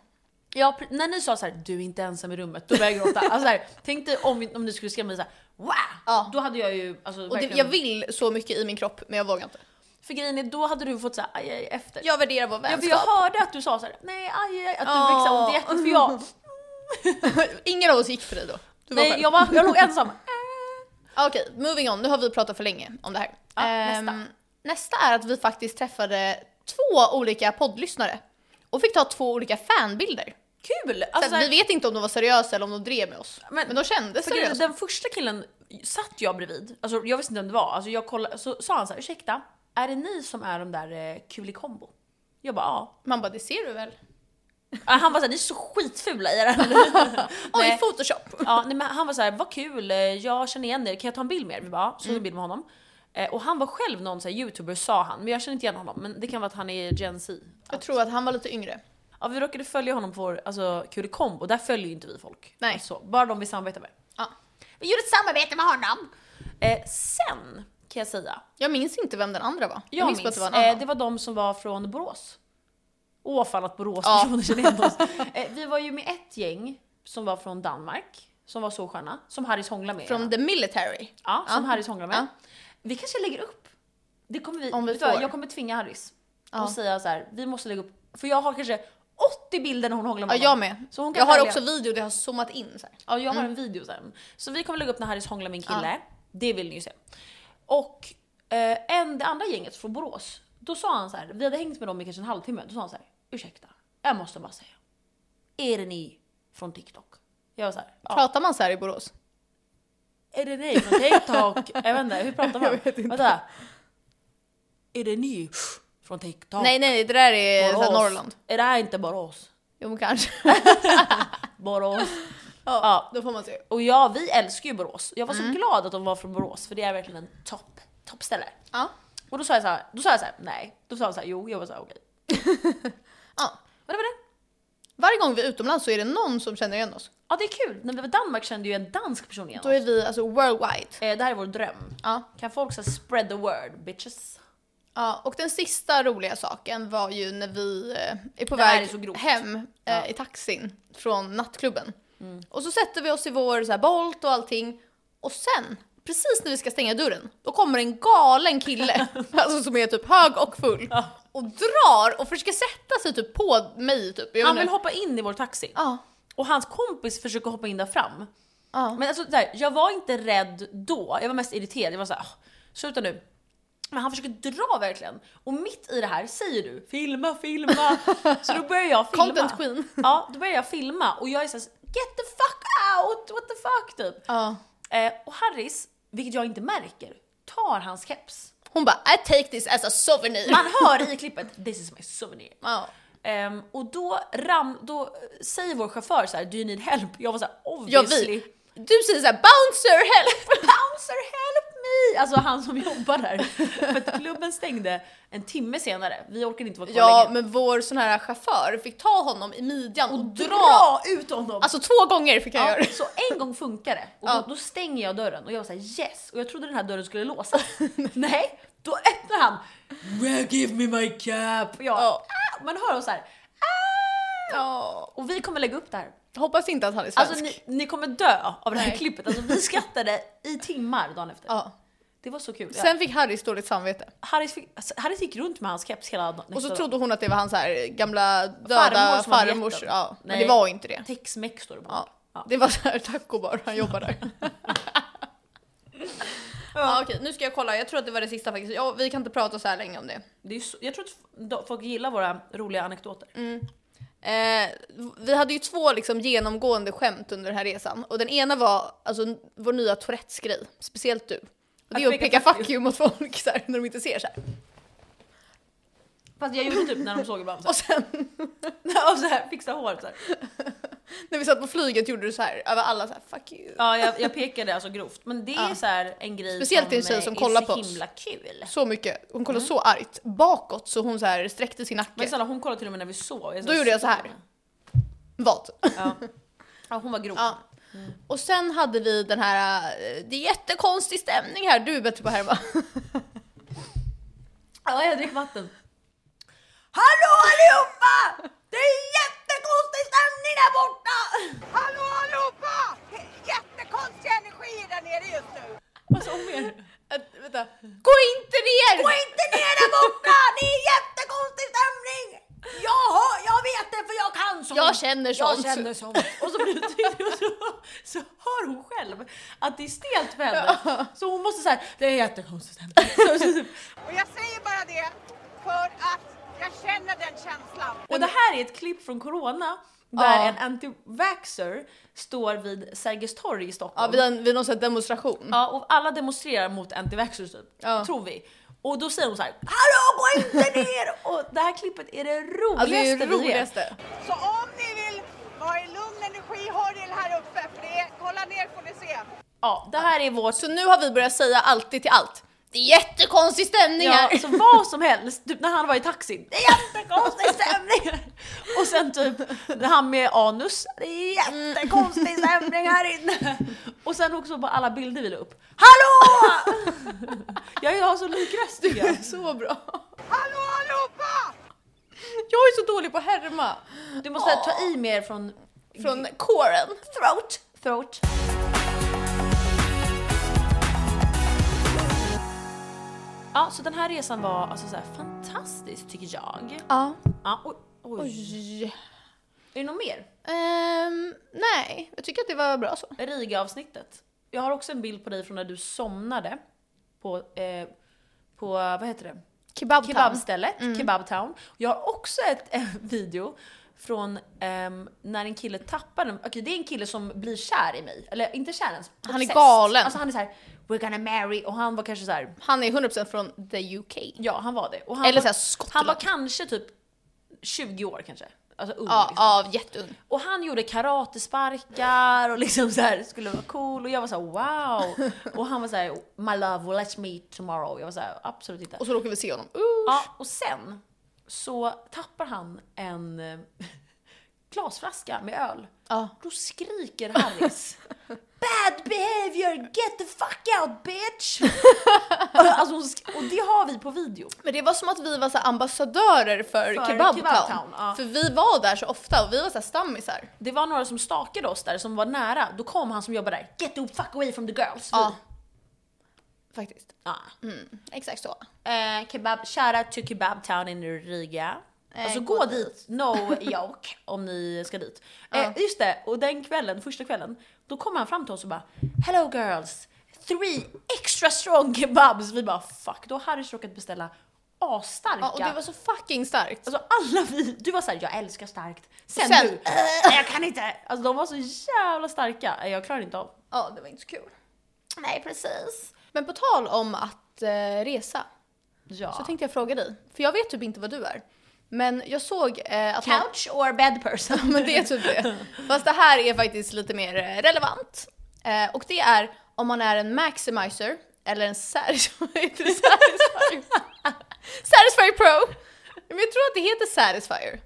[SPEAKER 2] Ja, pre- när ni sa så här, du är inte ensam i rummet, då började jag gråta. Alltså,
[SPEAKER 1] [LAUGHS]
[SPEAKER 2] så här, tänk dig om, om ni skulle skrämma mig såhär, wow!
[SPEAKER 1] Ja.
[SPEAKER 2] Då hade jag ju alltså,
[SPEAKER 1] Och det,
[SPEAKER 2] verkligen-
[SPEAKER 1] jag vill så mycket i min kropp men jag vågar inte.
[SPEAKER 2] För grejen är, då hade du fått säga aj, aj efter.
[SPEAKER 1] Jag värderar vår
[SPEAKER 2] Ja, för
[SPEAKER 1] vänskap.
[SPEAKER 2] jag hörde att du sa så här, nej aj, aj att du
[SPEAKER 1] Ja.
[SPEAKER 2] växte ont i hjärtat för
[SPEAKER 1] [LAUGHS]
[SPEAKER 2] jag,
[SPEAKER 1] Ingen av oss gick för dig då. Du var
[SPEAKER 2] nej
[SPEAKER 1] själv. Ah,
[SPEAKER 2] jag, var, jag låg ensam.
[SPEAKER 1] Okej, moving on. Nu har vi pratat för länge om det här.
[SPEAKER 2] Ja,
[SPEAKER 1] Ehm,
[SPEAKER 2] nästa.
[SPEAKER 1] nästa är att vi faktiskt träffade två olika poddlyssnare och fick ta två olika fanbilder.
[SPEAKER 2] Kul!
[SPEAKER 1] Så
[SPEAKER 2] Alltså,
[SPEAKER 1] att vi vet inte om de var seriösa eller om de drev med oss. Men,
[SPEAKER 2] Men-
[SPEAKER 1] de kändes
[SPEAKER 2] För grejen är,
[SPEAKER 1] seriösa.
[SPEAKER 2] den första killen satt jag bredvid, alltså, jag visste inte vem det var, alltså, jag kollade, så sa han så här, ursäkta, är det ni som är de där eh, Kulikombo? Jag bara ja.
[SPEAKER 1] Man bara, det ser du väl?
[SPEAKER 2] Ja, Han var såhär, ni är så skitfula i
[SPEAKER 1] [LAUGHS]
[SPEAKER 2] er.
[SPEAKER 1] Oj,
[SPEAKER 2] Nej.
[SPEAKER 1] photoshop!
[SPEAKER 2] Ja, nej, men han var såhär, vad kul, eh, jag känner igen er, kan jag ta en bild med er? Vi bara, ja. så
[SPEAKER 1] Mm.
[SPEAKER 2] tog en bild med honom. Eh, Och han var själv någon så här youtuber sa han, men jag känner inte igen honom. Men det kan vara att han är Gen Z.
[SPEAKER 1] Jag tror att han var lite yngre.
[SPEAKER 2] Ja, vi råkade följa honom på vår alltså, Kurikombo, där följer ju inte vi folk.
[SPEAKER 1] Nej.
[SPEAKER 2] Alltså, bara de vi samarbetar med.
[SPEAKER 1] Ja.
[SPEAKER 2] Vi gjorde ett samarbete med honom! Eh, sen kan jag säga,
[SPEAKER 1] Jag minns inte vem den andra var. Jag,
[SPEAKER 2] jag
[SPEAKER 1] minns,
[SPEAKER 2] minns,
[SPEAKER 1] bara att det var en
[SPEAKER 2] eh,
[SPEAKER 1] annan.
[SPEAKER 2] det var de som var från Borås. Åh fan att
[SPEAKER 1] Ja.
[SPEAKER 2] Boråspersoner känner
[SPEAKER 1] [LAUGHS]
[SPEAKER 2] igen oss. Eh, vi var ju med ett gäng som var från Danmark, som var så sköna, som Harris hånglar med.
[SPEAKER 1] Från the military.
[SPEAKER 2] Ja, som
[SPEAKER 1] Ja.
[SPEAKER 2] Harris hånglar med.
[SPEAKER 1] Ja.
[SPEAKER 2] Vi kanske lägger upp. Det kommer vi,
[SPEAKER 1] Om vi
[SPEAKER 2] vet du vad,
[SPEAKER 1] får.
[SPEAKER 2] Jag kommer tvinga Harris
[SPEAKER 1] Ja.
[SPEAKER 2] och säga så här, vi måste lägga upp, för jag har kanske 80 bilder när hon hånglar med
[SPEAKER 1] Ja,
[SPEAKER 2] honom.
[SPEAKER 1] jag med.
[SPEAKER 2] Så hon kan
[SPEAKER 1] Jag har
[SPEAKER 2] välja.
[SPEAKER 1] också video där jag har zoomat in. Så här.
[SPEAKER 2] Ja, jag har en video sen. Så vi kommer lägga upp när Harris hånglar med en kille. Det vill ni ju se. Och eh, en, det andra gänget från Borås, då sa han så här, vi hade hängt med dem i kanske en halvtimme, då sa han så här, ursäkta, jag måste bara säga. Är det ni från TikTok? Jag var så här, ja.
[SPEAKER 1] Pratar man så här i Borås?
[SPEAKER 2] Är det ni från
[SPEAKER 1] [LAUGHS]
[SPEAKER 2] TikTok? jag vet inte, hur pratar man?
[SPEAKER 1] Jag vet inte.
[SPEAKER 2] Vänta. Är det ni från TikTok?
[SPEAKER 1] Nej, nej, det där är så här,
[SPEAKER 2] Borås?
[SPEAKER 1] Norrland.
[SPEAKER 2] Är det här inte Borås?
[SPEAKER 1] Jo, men kanske.
[SPEAKER 2] Borås.
[SPEAKER 1] Ja, då får man se.
[SPEAKER 2] Och ja, vi älskar ju Borås. Jag var
[SPEAKER 1] Mm.
[SPEAKER 2] så glad att de var från Borås, för det är verkligen en topp, toppställe.
[SPEAKER 1] Ja.
[SPEAKER 2] Och då sa jag så här, då sa jag så här, nej. Då sa han så här, jo. Jag var så
[SPEAKER 1] [LAUGHS]
[SPEAKER 2] här, okej.
[SPEAKER 1] Ja.
[SPEAKER 2] Men det var det.
[SPEAKER 1] Varje gång vi är utomlands så är det någon som känner igen oss.
[SPEAKER 2] Ja, det är kul. När vi var i Danmark kände ju en dansk person igen
[SPEAKER 1] Då är vi alltså worldwide.
[SPEAKER 2] Eh, Det här är vår dröm.
[SPEAKER 1] Ja.
[SPEAKER 2] Kan folk så här, spread the word, bitches?
[SPEAKER 1] ja. Och den sista roliga saken var ju när vi eh, är på
[SPEAKER 2] Det här
[SPEAKER 1] väg
[SPEAKER 2] är så grovt.
[SPEAKER 1] hem eh,
[SPEAKER 2] Ja. Mm.
[SPEAKER 1] i taxin från nattklubben. Och så sätter vi oss i vår så här, Bolt och allting. Och sen, precis när vi ska stänga dörren, då kommer en galen
[SPEAKER 2] [LAUGHS]
[SPEAKER 1] kille alltså, som är typ hög och full och drar och försöker sätta sig typ på mig. Typ. Jag
[SPEAKER 2] Han
[SPEAKER 1] vet
[SPEAKER 2] vill
[SPEAKER 1] inte.
[SPEAKER 2] hoppa in i vår taxi.
[SPEAKER 1] Ja.
[SPEAKER 2] Och hans kompis försöker hoppa in där fram.
[SPEAKER 1] Ja.
[SPEAKER 2] Men alltså, så här, jag var inte rädd då, jag var mest irriterad. Jag var såhär, sluta nu. Men han försöker dra verkligen. Och mitt i det här säger du filma,
[SPEAKER 1] [LAUGHS]
[SPEAKER 2] filma. så då börjar jag filma.
[SPEAKER 1] Content queen.
[SPEAKER 2] Ja, då börjar jag filma och jag är såhär get the fuck out, what the fuck typ.
[SPEAKER 1] Ja.
[SPEAKER 2] Eh, och Harris, vilket jag inte märker, tar hans keps.
[SPEAKER 1] Hon bara I take this as a souvenir.
[SPEAKER 2] Man hör i klippet this is my souvenir.
[SPEAKER 1] Ja.
[SPEAKER 2] Ehm, och då, ram, då säger vår chaufför så här, do you need help? Jag var såhär
[SPEAKER 1] Ja,
[SPEAKER 2] obviously.
[SPEAKER 1] vi. Du säger såhär bouncer help!
[SPEAKER 2] Bouncer help me! Alltså han som jobbar där. För att klubben stängde en timme senare. Vi orkade inte vara kvar
[SPEAKER 1] Ja,
[SPEAKER 2] länge.
[SPEAKER 1] men vår sån här chaufför fick ta honom i midjan och, dra.
[SPEAKER 2] ut honom!
[SPEAKER 1] Alltså två gånger fick jag
[SPEAKER 2] ja,
[SPEAKER 1] göra
[SPEAKER 2] så en gång funkar det. Och
[SPEAKER 1] Ja.
[SPEAKER 2] då, då stänger jag dörren och jag var såhär yes! Och jag trodde den här dörren
[SPEAKER 1] [LAUGHS]
[SPEAKER 2] skulle låsa. Nej, då öppnar han. Well, give me my cap! Och jag,
[SPEAKER 1] Ja.
[SPEAKER 2] ah, man hör oss såhär.
[SPEAKER 1] Ja.
[SPEAKER 2] Och vi kommer lägga upp det här.
[SPEAKER 1] Hoppas inte att han är svensk.
[SPEAKER 2] Alltså ni, ni kommer dö av det här
[SPEAKER 1] Nej.
[SPEAKER 2] klippet. Alltså vi skrattade i timmar dagen efter.
[SPEAKER 1] ja.
[SPEAKER 2] Det var så kul. Ja.
[SPEAKER 1] Sen fick Harris dåligt samvete.
[SPEAKER 2] Harris, fick, alltså, Harris gick runt med hans keps hela dagen.
[SPEAKER 1] Och så trodde hon att det var hans så här gamla döda
[SPEAKER 2] Farmor som hade
[SPEAKER 1] farmors.
[SPEAKER 2] gett den.
[SPEAKER 1] Ja, men
[SPEAKER 2] Nej.
[SPEAKER 1] det var inte det.
[SPEAKER 2] Tex-Mex står det på.
[SPEAKER 1] Ja.
[SPEAKER 2] Ja.
[SPEAKER 1] Det var så här taco bar, han jobbar där. [LAUGHS] ja, okej, nu ska jag kolla. Jag tror att det var det sista faktiskt. Ja, vi kan inte prata så här länge om det.
[SPEAKER 2] Det är ju så, jag tror att f- folk gillar våra roliga anekdoter.
[SPEAKER 1] Mm. Eh, vi hade ju två liksom genomgående skämt under den här resan och den ena var alltså, n- vår nya Tourettes grej, speciellt du. Och det är
[SPEAKER 2] Att
[SPEAKER 1] att peka fuck you mot folk så här, när de inte ser så här.
[SPEAKER 2] Fast jag gjorde typ när de såg ibland. Så
[SPEAKER 1] Och sen
[SPEAKER 2] [LAUGHS] här, och så här, fixa håret så här.
[SPEAKER 1] när vi satt på flyget gjorde du så här över alla så här fuck you.
[SPEAKER 2] Ja, jag, jag pekade alltså grovt. Men det är
[SPEAKER 1] Ja.
[SPEAKER 2] så här en grej
[SPEAKER 1] Speciellt till en tjej
[SPEAKER 2] eh,
[SPEAKER 1] som
[SPEAKER 2] är
[SPEAKER 1] kollar
[SPEAKER 2] så
[SPEAKER 1] på oss.
[SPEAKER 2] himla kul.
[SPEAKER 1] Så mycket, hon kollade så argt bakåt så hon så här sträckte sin
[SPEAKER 2] Mm. Men
[SPEAKER 1] nacke.
[SPEAKER 2] snälla hon kollade till och med när vi sov. Jag
[SPEAKER 1] Då gjorde jag så här. Vad?
[SPEAKER 2] Ja. Mm. ja, hon var grov.
[SPEAKER 1] [LAUGHS] Ja. Och sen hade vi den här, eh, det är jättekonstig stämning här, du är bättre på att
[SPEAKER 2] [LAUGHS]
[SPEAKER 1] härma.
[SPEAKER 2] Ja, jag dricker vatten. Hallå allihopa! Det är jättekonstig stämning där borta!
[SPEAKER 3] Hallå allihopa! Jättekonstig energi där nere just nu.
[SPEAKER 2] Vad sa hon mer?
[SPEAKER 1] Äh, vänta, veta. Gå inte ner!
[SPEAKER 3] Gå inte ner där borta! Det är jättekonstig stämning! Jag, har, jag vet det för jag kan sånt!
[SPEAKER 1] Jag känner sånt.
[SPEAKER 3] Jag känner sånt.
[SPEAKER 2] Och så blir [LAUGHS] det tydligt och så, så hör hon själv att det är stelt för henne. Så hon måste såhär, det är jättekonstigt.
[SPEAKER 4] Och jag säger bara det för att jag känner den känslan.
[SPEAKER 2] Och det här är ett klipp från Corona där
[SPEAKER 1] Ja.
[SPEAKER 2] en anti-vaxxer står vid Sergels torg i
[SPEAKER 1] Ja,
[SPEAKER 2] Stockholm.
[SPEAKER 1] vid, en, vid någon sån här demonstration.
[SPEAKER 2] Ja, och alla demonstrerar mot anti-vaxxers typ,
[SPEAKER 1] Ja.
[SPEAKER 2] tror vi. Och då säger hon så här.
[SPEAKER 3] Hallå, gå inte ner!
[SPEAKER 2] Och det här klippet är det roligaste
[SPEAKER 1] Alltså det är det
[SPEAKER 2] vi vet."
[SPEAKER 1] roligaste.
[SPEAKER 4] Så om ni vill vara i lugn energi, hör det här uppe. För det är, kolla ner får ni se.
[SPEAKER 2] Ja, det här är vårt...
[SPEAKER 1] Så nu har vi börjat säga alltid till allt. Det är jättekonstig stämning
[SPEAKER 2] Ja,
[SPEAKER 1] här! [LAUGHS]
[SPEAKER 2] så vad som helst, typ när han var i taxin.
[SPEAKER 3] Det är jättekonstig stämning!
[SPEAKER 2] Och sen typ när han med anus.
[SPEAKER 3] Det är jättekonstig stämning här inne!
[SPEAKER 2] Och sen också på alla bilder vi la upp.
[SPEAKER 3] Hallå!
[SPEAKER 2] Jag har så lik röst tycker jag.
[SPEAKER 1] Så bra.
[SPEAKER 4] Hallå allihopa!
[SPEAKER 1] Jag är så dålig på att härma.
[SPEAKER 2] Du måste ta i mer från
[SPEAKER 1] Från kåren.
[SPEAKER 3] Throat!
[SPEAKER 2] throat. Ja, så den här resan var alltså så här fantastisk tycker jag.
[SPEAKER 1] Ja.
[SPEAKER 2] Ja, oj, oj.
[SPEAKER 1] Oj.
[SPEAKER 2] Är det något mer?
[SPEAKER 1] Ehm, nej, jag tycker att det var bra så.
[SPEAKER 2] Riga-avsnittet. Jag har också en bild på dig från när du somnade på, eh, på vad heter det?
[SPEAKER 1] Kebab. Mm.
[SPEAKER 2] Kebabstället, Kebabtown. Jag har också ett [LAUGHS] en video från ehm, när en kille tappar en, okej det är en kille som blir kär i mig, eller inte kär ens,
[SPEAKER 1] är
[SPEAKER 2] obsessed.
[SPEAKER 1] galen.
[SPEAKER 2] Alltså han är så här: we're gonna marry, och han var kanske så här.
[SPEAKER 1] Han är 100% från the UK.
[SPEAKER 2] ja han var det. Och han
[SPEAKER 1] Eller så
[SPEAKER 2] var,
[SPEAKER 1] här
[SPEAKER 2] han
[SPEAKER 1] Skottland.
[SPEAKER 2] var kanske typ 20 år kanske. Alltså ung
[SPEAKER 1] ja,
[SPEAKER 2] liksom.
[SPEAKER 1] ja, jätteung.
[SPEAKER 2] Och han gjorde karatesparkar och liksom så här skulle vara cool och jag var så här, wow. Och han var så här, my love, let's meet tomorrow. Jag var så här, absolut inte.
[SPEAKER 1] Och så råkar vi se honom. Uh.
[SPEAKER 2] Ja, och sen så tappar han en eh, glasflaska med öl.
[SPEAKER 1] Ja.
[SPEAKER 2] Då skriker Harris. Bad behavior, get the fuck out bitch! alltså, hon sk- och det har vi på video.
[SPEAKER 1] Men det var som att vi var så här ambassadörer för,
[SPEAKER 2] För
[SPEAKER 1] Kebabtown.
[SPEAKER 2] Kebabtown, ja.
[SPEAKER 1] För vi var där så ofta och vi var så här stammisar.
[SPEAKER 2] Det var några som stakade oss där som var nära. Då kom han som jobbar där. Get the fuck away from the girls.
[SPEAKER 1] Ja. Typ. Faktiskt.
[SPEAKER 2] Ja.
[SPEAKER 1] Mm. Exakt så.
[SPEAKER 2] Eh, kebab, shoutout to Kebab Town in Riga.
[SPEAKER 1] Eh,
[SPEAKER 2] Alltså
[SPEAKER 1] gå
[SPEAKER 2] gå, dit, no joke, om ni ska dit. Eh,
[SPEAKER 1] Ja.
[SPEAKER 2] just det, och den kvällen, första kvällen, då kom han fram till oss och bara “Hello girls, three extra strong kebabs”. Vi bara “fuck”, då har Harris råkat beställa asstarka.
[SPEAKER 1] Ja, och det var så fucking starkt.
[SPEAKER 2] Alltså alla vi, du var såhär “jag älskar starkt”, sen,
[SPEAKER 1] Sen,
[SPEAKER 2] du "Eh, “jag kan inte”. Alltså de var så jävla starka, Eh, jag klarar inte av.
[SPEAKER 1] Ja, det var inte så kul.
[SPEAKER 3] Nej, precis.
[SPEAKER 1] Men på tal om att eh, resa
[SPEAKER 2] Ja.
[SPEAKER 1] så tänkte jag fråga dig, för jag vet typ inte vad du är. Men jag såg eh, att [LAUGHS] någon-
[SPEAKER 2] Couch or bed person?
[SPEAKER 1] [LAUGHS] men det är typ det. Fast det här är faktiskt lite mer eh, relevant. Eh, och det är om man är en maximizer eller en [LAUGHS] satisfier. satisfier. satisfier pro! Men jag tror att det heter satisfier.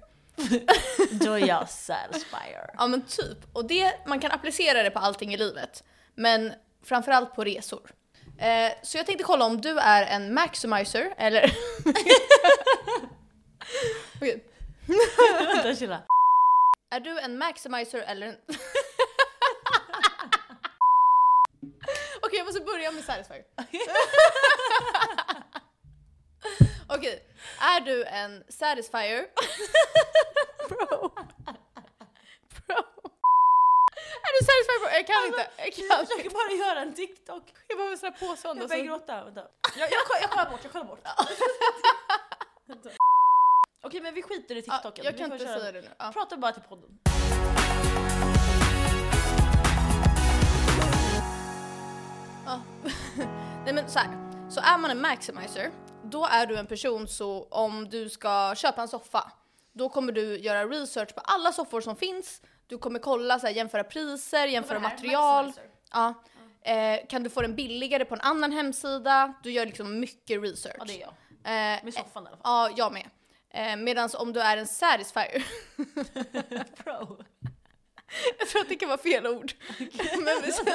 [SPEAKER 2] Då är jag satisfier.
[SPEAKER 1] Ja men typ. Och det, man kan applicera det på allting i livet. Men framförallt på resor. Eh, så jag tänkte kolla om du är en maximizer eller... Okej.
[SPEAKER 2] Vänta, chilla.
[SPEAKER 1] Är du en maximizer eller en... Okej jag måste börja med satisfier. Okej, är du en satisfier? Bro. Bro. Är du satisfier bro? Jag kan inte. Jag
[SPEAKER 2] Jag
[SPEAKER 1] kan
[SPEAKER 2] försöker
[SPEAKER 1] inte.
[SPEAKER 2] bara göra en TikTok.
[SPEAKER 1] Jag behöver sådana påstånd.
[SPEAKER 2] Jag
[SPEAKER 1] och
[SPEAKER 2] börjar
[SPEAKER 1] så-
[SPEAKER 2] gråta, vänta. alltså. Jag, jag, koll- jag kollar bort, jag kollar bort. [LAUGHS] Vänta. Okej men vi skiter i
[SPEAKER 1] Ja,
[SPEAKER 2] TikToken.
[SPEAKER 1] jag
[SPEAKER 2] Vi
[SPEAKER 1] kan
[SPEAKER 2] får
[SPEAKER 1] inte
[SPEAKER 2] köra-
[SPEAKER 1] säga det nu. Ja.
[SPEAKER 2] Prata bara till podden.
[SPEAKER 1] Ja. [LAUGHS] Nej men så här. så är man en maximizer, då är du en person så om du ska köpa en soffa, då kommer du göra research på alla soffor som finns, du kommer kolla, så här, jämföra priser, jämföra material. Ja. Eh, kan du få den billigare på en annan hemsida? Du gör liksom mycket research.
[SPEAKER 2] Ja det är jag.
[SPEAKER 1] Eh,
[SPEAKER 2] Med soffan i alla fall.
[SPEAKER 1] ja, jag med. Eh, Medan om du är en satisfier,
[SPEAKER 2] Pro.
[SPEAKER 1] jag tror att det kan vara fel ord. Men vi-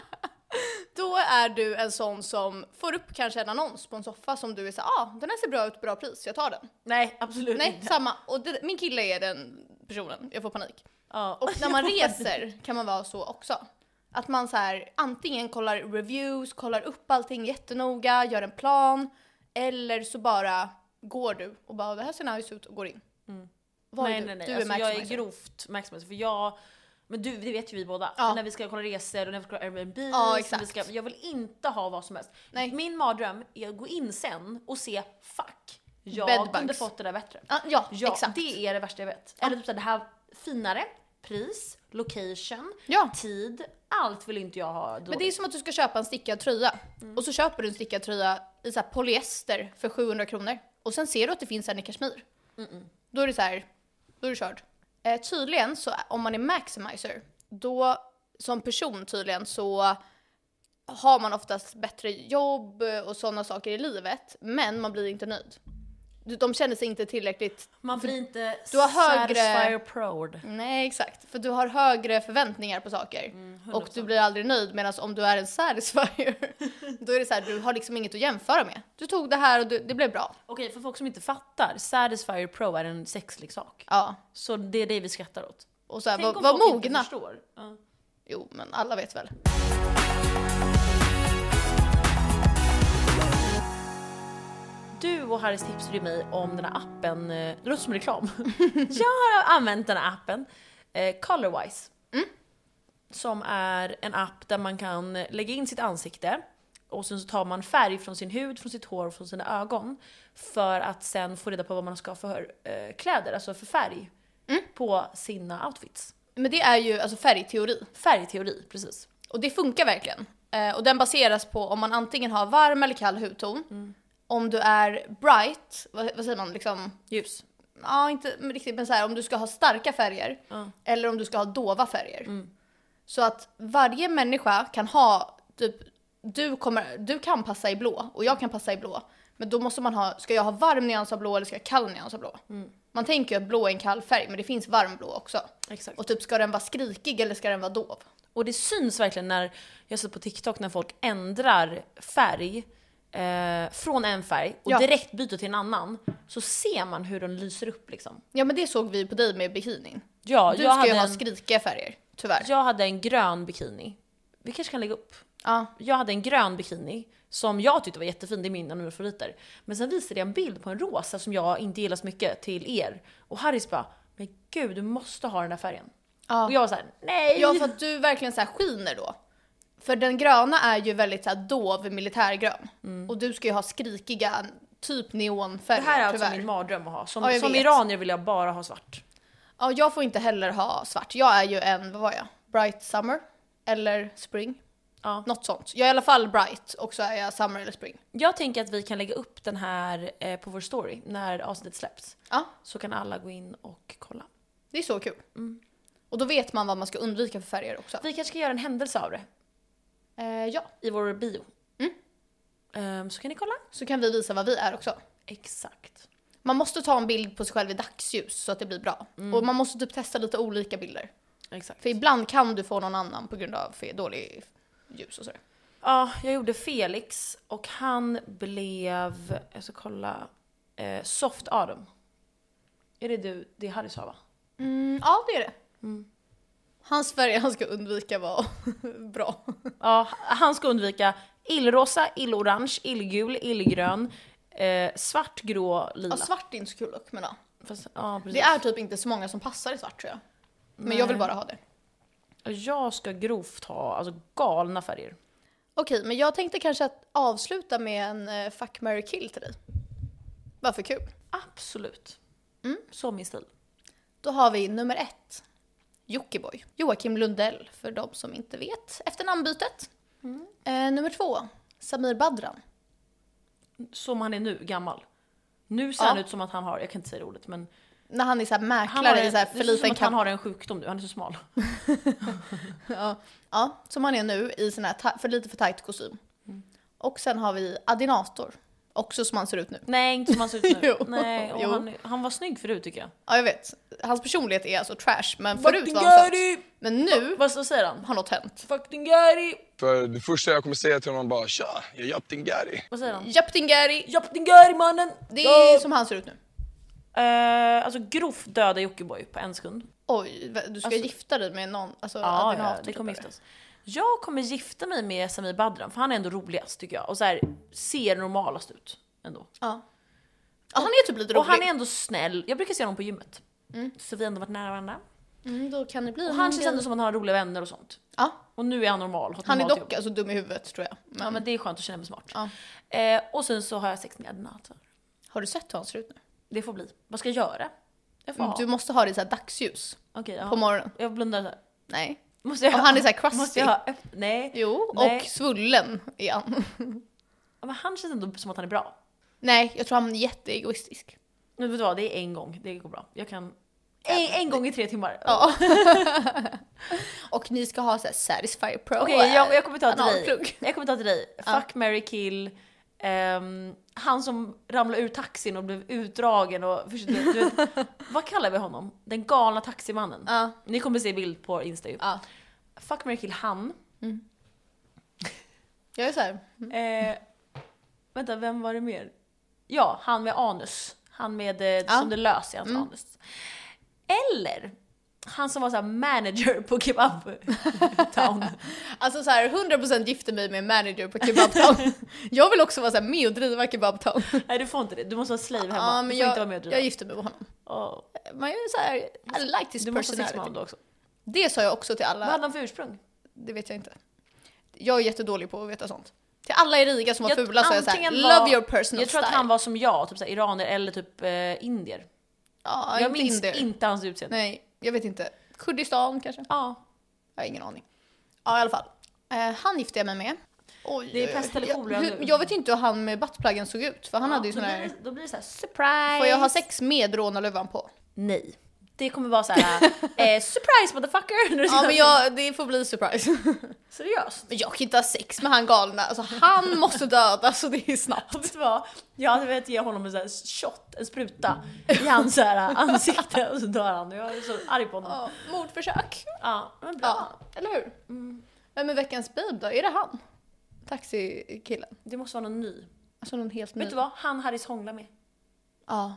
[SPEAKER 1] [LAUGHS] då är du en sån som får upp kanske en annons på en soffa som du är såhär, ah, den här ser bra ut, bra pris, jag tar den.
[SPEAKER 2] Nej absolut
[SPEAKER 1] Nej,
[SPEAKER 2] inte.
[SPEAKER 1] samma. Och det, min kille är den personen, jag får panik.
[SPEAKER 2] Ja.
[SPEAKER 1] Och när man reser kan man vara så också. Att man så här, antingen kollar reviews, kollar upp allting jättenoga, gör en plan. Eller så bara går du och bara “det här ser nice ut” och går in. Vad är
[SPEAKER 2] Mm.
[SPEAKER 1] du?
[SPEAKER 2] nej, nej, nej.
[SPEAKER 1] Du är
[SPEAKER 2] alltså, jag är
[SPEAKER 1] maximizer.
[SPEAKER 2] grovt maximizer. För jag, men du, det vet ju vi båda.
[SPEAKER 1] Ja.
[SPEAKER 2] För När vi ska kolla resor och när vi ska kolla Airbnb.
[SPEAKER 1] Ja, exakt.
[SPEAKER 2] Vi ska, jag vill inte ha vad som helst.
[SPEAKER 1] Nej.
[SPEAKER 2] Min mardröm är att gå in sen och se, fuck, jag
[SPEAKER 1] Bedbugs.
[SPEAKER 2] kunde fått det där bättre.
[SPEAKER 1] Ah, ja,
[SPEAKER 2] Ja,
[SPEAKER 1] exakt.
[SPEAKER 2] det är det värsta jag vet. Eller typ såhär, det här finare, pris, location,
[SPEAKER 1] Ja.
[SPEAKER 2] tid, allt vill inte jag ha dåligt.
[SPEAKER 1] Men det är som att du ska köpa en stickad tröja. Och så köper du en stickad tröja i så här polyester för 700 kronor. Och sen ser du att det finns en i kashmir. Då är det så här, då är du körd. Eh, tydligen så om man är maximizer, då som person tydligen så har man oftast bättre jobb och sådana saker i livet. Men man blir inte nöjd. Du- De känner sig inte tillräckligt
[SPEAKER 2] Man blir inte
[SPEAKER 1] Du har högre-
[SPEAKER 2] satisfier proud.
[SPEAKER 1] Nej exakt, för du har högre förväntningar på saker
[SPEAKER 2] Mm,
[SPEAKER 1] och du blir aldrig nöjd medan om du är en
[SPEAKER 2] [LAUGHS]
[SPEAKER 1] satisfier då är det så här, du har liksom inget att jämföra med. Du tog det här och du, det blev bra.
[SPEAKER 2] Okej, för folk som inte fattar, satisfier pro är en sexleksak.
[SPEAKER 1] Ja.
[SPEAKER 2] Så det är det vi skrattar åt.
[SPEAKER 1] Och så här,
[SPEAKER 2] Tänk
[SPEAKER 1] var,
[SPEAKER 2] om
[SPEAKER 1] var
[SPEAKER 2] folk inte
[SPEAKER 1] mogna.
[SPEAKER 2] förstår. Ja.
[SPEAKER 1] Jo men alla vet väl.
[SPEAKER 2] Du och Harris tipsade ju mig om den här appen, eh, det låter
[SPEAKER 1] [LAUGHS]
[SPEAKER 2] som reklam. jag har använt den här appen, eh, Colorwise.
[SPEAKER 1] Mm.
[SPEAKER 2] Som är en app där man kan lägga in sitt ansikte och sen så tar man färg från sin hud, från sitt hår och från sina ögon. För att sen få reda på vad man ska ha för eh, kläder, alltså för färg.
[SPEAKER 1] Mm.
[SPEAKER 2] På sina outfits.
[SPEAKER 1] Men det är ju alltså färgteori
[SPEAKER 2] Färgteori, precis.
[SPEAKER 1] och det funkar verkligen. Eh, och den baseras på om man antingen har varm eller kall hudton,
[SPEAKER 2] Mm.
[SPEAKER 1] om du är bright, vad, vad säger man liksom?
[SPEAKER 2] Ljus.
[SPEAKER 1] Ja inte riktigt men så här, om du ska ha starka färger
[SPEAKER 2] Ja. Mm.
[SPEAKER 1] eller om du ska ha dova färger. Så att varje människa kan ha, typ, du, kommer, du kan passa i blå och jag kan passa i blå. Men då måste man ha, ska jag ha varm nyans av blå eller ska jag ha kall nyans av blå?
[SPEAKER 2] Mm.
[SPEAKER 1] Man tänker ju att blå är en kall färg men det finns varm blå också.
[SPEAKER 2] Exakt.
[SPEAKER 1] Och typ ska den vara skrikig eller ska den vara dov?
[SPEAKER 2] Och det syns verkligen när jag ser på TikTok när folk ändrar färg eh, från en färg och
[SPEAKER 1] Ja.
[SPEAKER 2] direkt byter till en annan. Så ser man hur den lyser upp liksom.
[SPEAKER 1] Ja men det såg vi på dig med bikinin.
[SPEAKER 2] Ja,
[SPEAKER 1] Du
[SPEAKER 2] jag,
[SPEAKER 1] ska
[SPEAKER 2] hade
[SPEAKER 1] ju ha
[SPEAKER 2] en,
[SPEAKER 1] skrikiga färger, tyvärr. Ja.
[SPEAKER 2] jag hade en grön bikini. Vi kanske kan lägga upp. Jag hade en grön bikini som jag tyckte var jättefin, det är min av mina favoriter. Men sen visade jag en bild på en rosa som jag inte gillar så mycket till er. Och Harris bara, men gud du måste ha den här färgen.
[SPEAKER 1] Ja.
[SPEAKER 2] Och jag var såhär, nej!
[SPEAKER 1] Ja för att du verkligen så här skiner då. För den gröna är ju väldigt så här dov militärgrön. Och du ska ju ha skrikiga, typ neonfärger
[SPEAKER 2] Mm. det här är alltså
[SPEAKER 1] tyvärr.
[SPEAKER 2] min mardröm att ha. Som,
[SPEAKER 1] Ja, jag
[SPEAKER 2] som
[SPEAKER 1] vet.
[SPEAKER 2] iranier vill jag bara ha svart.
[SPEAKER 1] Ja jag får inte heller ha svart. Jag är ju en, vad var jag? Bright summer? Eller spring?
[SPEAKER 2] Ja.
[SPEAKER 1] Något sånt. Jag är i alla fall bright och så är jag summer eller spring.
[SPEAKER 2] Jag tänker att vi kan lägga upp den här eh, på vår story när avsnittet släpps.
[SPEAKER 1] Ja,
[SPEAKER 2] Så kan alla gå in och kolla.
[SPEAKER 1] det är så kul.
[SPEAKER 2] Mm.
[SPEAKER 1] Och då vet man vad man ska undvika för färger också.
[SPEAKER 2] Vi kanske kan göra en händelse av det
[SPEAKER 1] Eh, ja,
[SPEAKER 2] i vår bio.
[SPEAKER 1] Mm.
[SPEAKER 2] Ehm, så kan ni kolla.
[SPEAKER 1] så kan vi visa vad vi är också.
[SPEAKER 2] Exakt.
[SPEAKER 1] Man måste ta en bild på sig själv i dagsljus så att det blir bra.
[SPEAKER 2] Mm.
[SPEAKER 1] Och man måste typ testa lite olika bilder.
[SPEAKER 2] Exakt.
[SPEAKER 1] För ibland kan du få någon annan på grund av för dålig ljus och sådär.
[SPEAKER 2] Ja, jag gjorde Felix och han blev, jag ska kolla, eh, Soft Adam. Är det du, det är Harry
[SPEAKER 1] [LAUGHS]
[SPEAKER 2] sa va?
[SPEAKER 1] Mm, ja, det är det. Hans färger han ska undvika var [LAUGHS] bra.
[SPEAKER 2] Ja, han ska undvika illrosa, illorange, illgul, illgrön, eh, svart, grå, lila.
[SPEAKER 1] Ja, svart är inte så kul dock, men ja.
[SPEAKER 2] Fast, ja, precis.
[SPEAKER 1] Det är typ inte så många som passar i svart tror jag. Men jag vill bara ha det.
[SPEAKER 2] Jag ska grovt ha alltså, galna färger.
[SPEAKER 1] Okej, men jag tänkte kanske att avsluta med en eh, fuck, marry, kill till dig. Bara för kul.
[SPEAKER 2] Absolut. Så min stil.
[SPEAKER 1] Då har vi nummer ett. Jockiboi. Joakim Lundell, för de som inte vet, efter namnbytet. Eh, nummer två, Samir Badran.
[SPEAKER 2] Som han är nu, gammal. Nu ser han
[SPEAKER 1] Ja.
[SPEAKER 2] ut som att han har, jag kan inte säga det ordet men.
[SPEAKER 1] När han är såhär
[SPEAKER 2] Han
[SPEAKER 1] mäklare i
[SPEAKER 2] en,
[SPEAKER 1] så här
[SPEAKER 2] det
[SPEAKER 1] för
[SPEAKER 2] ser ut som
[SPEAKER 1] liten
[SPEAKER 2] att han
[SPEAKER 1] kam-
[SPEAKER 2] har en sjukdom nu, han är så smal.
[SPEAKER 1] ja, ja, som han är nu i sån här ta- för lite för tajt kostym.
[SPEAKER 2] Mm.
[SPEAKER 1] Och sen har vi Adinator, också som han ser ut nu.
[SPEAKER 2] Nej inte som han ser [LAUGHS] ut nu.
[SPEAKER 1] Jo.
[SPEAKER 2] Nej, och
[SPEAKER 1] Jo.
[SPEAKER 2] han, han var snygg förut tycker jag.
[SPEAKER 1] Ja jag vet, hans personlighet är alltså trash men förut var han söt. Men nu
[SPEAKER 2] Vad så säger han?
[SPEAKER 1] har något hänt.
[SPEAKER 2] Fucking Gary!
[SPEAKER 5] För det första jag kommer säga till honom bara tja, jag hjälpte din Gary.
[SPEAKER 2] Vad säger han?
[SPEAKER 1] Japtingari,
[SPEAKER 2] Japp din Gary mannen!
[SPEAKER 1] det är
[SPEAKER 2] Mm. Ja.
[SPEAKER 1] som han ser ut nu.
[SPEAKER 2] Eh, alltså grovt döda Jockiboi på en sekund.
[SPEAKER 1] Oj, du ska gifta dig med någon, alltså
[SPEAKER 2] Ja, ja,
[SPEAKER 1] Adinator
[SPEAKER 2] det kommer
[SPEAKER 1] typ, eller?
[SPEAKER 2] giftas. jag kommer gifta mig med Samir Badran för han är ändå roligast tycker jag. Och så här, ser normalast ut ändå.
[SPEAKER 1] Ja. ja han är typ lite rolig.
[SPEAKER 2] Och han är ändå snäll. Jag brukar se honom på gymmet. Så vi har ändå varit nära varandra.
[SPEAKER 1] mm, då kan det bli
[SPEAKER 2] Och
[SPEAKER 1] någon
[SPEAKER 2] han känns
[SPEAKER 1] grej.
[SPEAKER 2] ändå som att han har roliga vänner och sånt.
[SPEAKER 1] Ja.
[SPEAKER 2] Och nu är han normal. typ. har ett
[SPEAKER 1] Han är
[SPEAKER 2] normalt
[SPEAKER 1] dock
[SPEAKER 2] jobb.
[SPEAKER 1] alltså dum i huvudet tror jag. Men,
[SPEAKER 2] Ja men det är skönt att känna mig smart.
[SPEAKER 1] Ja.
[SPEAKER 2] Eh, och sen så har jag sex med Edna. alltså.
[SPEAKER 1] Har du sett hur han ser ut nu?
[SPEAKER 2] Det får bli. Vad ska jag göra? Jag får ha.
[SPEAKER 1] Mm, Du måste ha det i så här dagsljus
[SPEAKER 2] Okej, ja.
[SPEAKER 1] på morgonen.
[SPEAKER 2] Jag blundar såhär.
[SPEAKER 1] Nej.
[SPEAKER 2] Måste jag
[SPEAKER 1] Och han är så här crusty.
[SPEAKER 2] [LAUGHS] Måste jag ha öpp- Nej.
[SPEAKER 1] Jo,
[SPEAKER 2] Nej.
[SPEAKER 1] och svullen är han.
[SPEAKER 2] Ja, Men han känns ändå som att han är bra.
[SPEAKER 1] Nej, jag tror han är jätteegoistisk.
[SPEAKER 2] Men vet du vad, det är en gång. Det går bra. Jag kan... En, en gång i tre timmar.
[SPEAKER 1] Ja. [LAUGHS] och ni ska ha så här Satisfyer Pro.
[SPEAKER 2] Okej, jag, jag kommer ta till dig.
[SPEAKER 1] analplugg.
[SPEAKER 2] Jag kommer ta till dig. Fuck, marry, kill. ehm, han som ramlade ur taxin och blev utdragen och försökte, du vet,
[SPEAKER 1] [LAUGHS]
[SPEAKER 2] Vad kallar vi honom? Den galna taximannen.
[SPEAKER 1] Ja.
[SPEAKER 2] Ni kommer se bild på Insta ju.
[SPEAKER 1] Ja.
[SPEAKER 2] Fuck, marry, kill han.
[SPEAKER 1] Jag är så här.
[SPEAKER 2] Eh, vänta, vem var det mer? Ja, han med anus. Han med, eh, som det lös i hans
[SPEAKER 1] Mm.
[SPEAKER 2] anus. Eller han som var så här manager på Kebab
[SPEAKER 1] [LAUGHS]
[SPEAKER 2] Town.
[SPEAKER 1] Alltså så här, 100% gifte mig med en manager på
[SPEAKER 2] [LAUGHS]
[SPEAKER 1] Kebabtown. jag vill också vara så här med och driva Kebabtown.
[SPEAKER 2] Nej du får inte det, du måste vara slave hemma.
[SPEAKER 1] Ja,
[SPEAKER 2] du
[SPEAKER 1] men
[SPEAKER 2] får
[SPEAKER 1] jag,
[SPEAKER 2] inte vara med och driva.
[SPEAKER 1] jag gifte mig med honom.
[SPEAKER 2] Åh.
[SPEAKER 1] Man är så här, I like this
[SPEAKER 2] Du måste liksom ha sex med
[SPEAKER 1] personality.
[SPEAKER 2] honom då också.
[SPEAKER 1] Det sa jag också till alla.
[SPEAKER 2] Vad hade han för ursprung?
[SPEAKER 1] Det vet jag inte. Jag är jättedålig på att veta sånt. Till alla i Riga som var
[SPEAKER 2] Jag-
[SPEAKER 1] fula så är jag såhär,
[SPEAKER 2] antingen
[SPEAKER 1] love your personal
[SPEAKER 2] Jag tror
[SPEAKER 1] style.
[SPEAKER 2] att han var som jag, typ såhär, iranier eller typ eh, indier.
[SPEAKER 1] ja,
[SPEAKER 2] jag
[SPEAKER 1] inte
[SPEAKER 2] minns
[SPEAKER 1] indier.
[SPEAKER 2] inte hans utseende.
[SPEAKER 1] Nej, jag vet inte. Kurdistan kanske?
[SPEAKER 2] Ja,
[SPEAKER 1] Jag har ingen aning. Ja, i alla fall. Eh, han gifte jag mig med. Oj,
[SPEAKER 2] Det är
[SPEAKER 1] oj,
[SPEAKER 2] pest
[SPEAKER 1] oj.
[SPEAKER 2] eller kolera
[SPEAKER 1] jag, hur-
[SPEAKER 2] nu.
[SPEAKER 1] jag vet ju inte hur han med buttpluggen såg ut, för han hade ju
[SPEAKER 2] då,
[SPEAKER 1] sån
[SPEAKER 2] blir,
[SPEAKER 1] här...
[SPEAKER 2] det- då blir det såhär
[SPEAKER 1] Surprise! Får jag ha sex med rånarluvan på?
[SPEAKER 2] Nej. Det kommer vara så här: eh, surprise motherfucker! [LAUGHS] När du
[SPEAKER 1] [LAUGHS] Ja
[SPEAKER 2] ser-
[SPEAKER 1] men jag, det får bli surprise.
[SPEAKER 2] Seriöst?
[SPEAKER 1] [LAUGHS]
[SPEAKER 2] [LAUGHS]
[SPEAKER 1] Men jag kan inte ha sex med han galna, alltså han måste dödas och det är snabbt.
[SPEAKER 2] Vet du vad? Jag hade velat ge honom en sån här shot, en spruta, i hans så här ansikte och så dör han. Och Jag är så arg på honom.
[SPEAKER 1] Ja, mordförsök.
[SPEAKER 2] Ja, men bra.
[SPEAKER 1] Ja, eller hur? Vem är veckans babe då? Är det han? Taxikillen?
[SPEAKER 2] Det måste vara någon ny.
[SPEAKER 1] Alltså någon helt ny?
[SPEAKER 2] Vet du vad? Han Harris hånglar med.
[SPEAKER 1] Ja.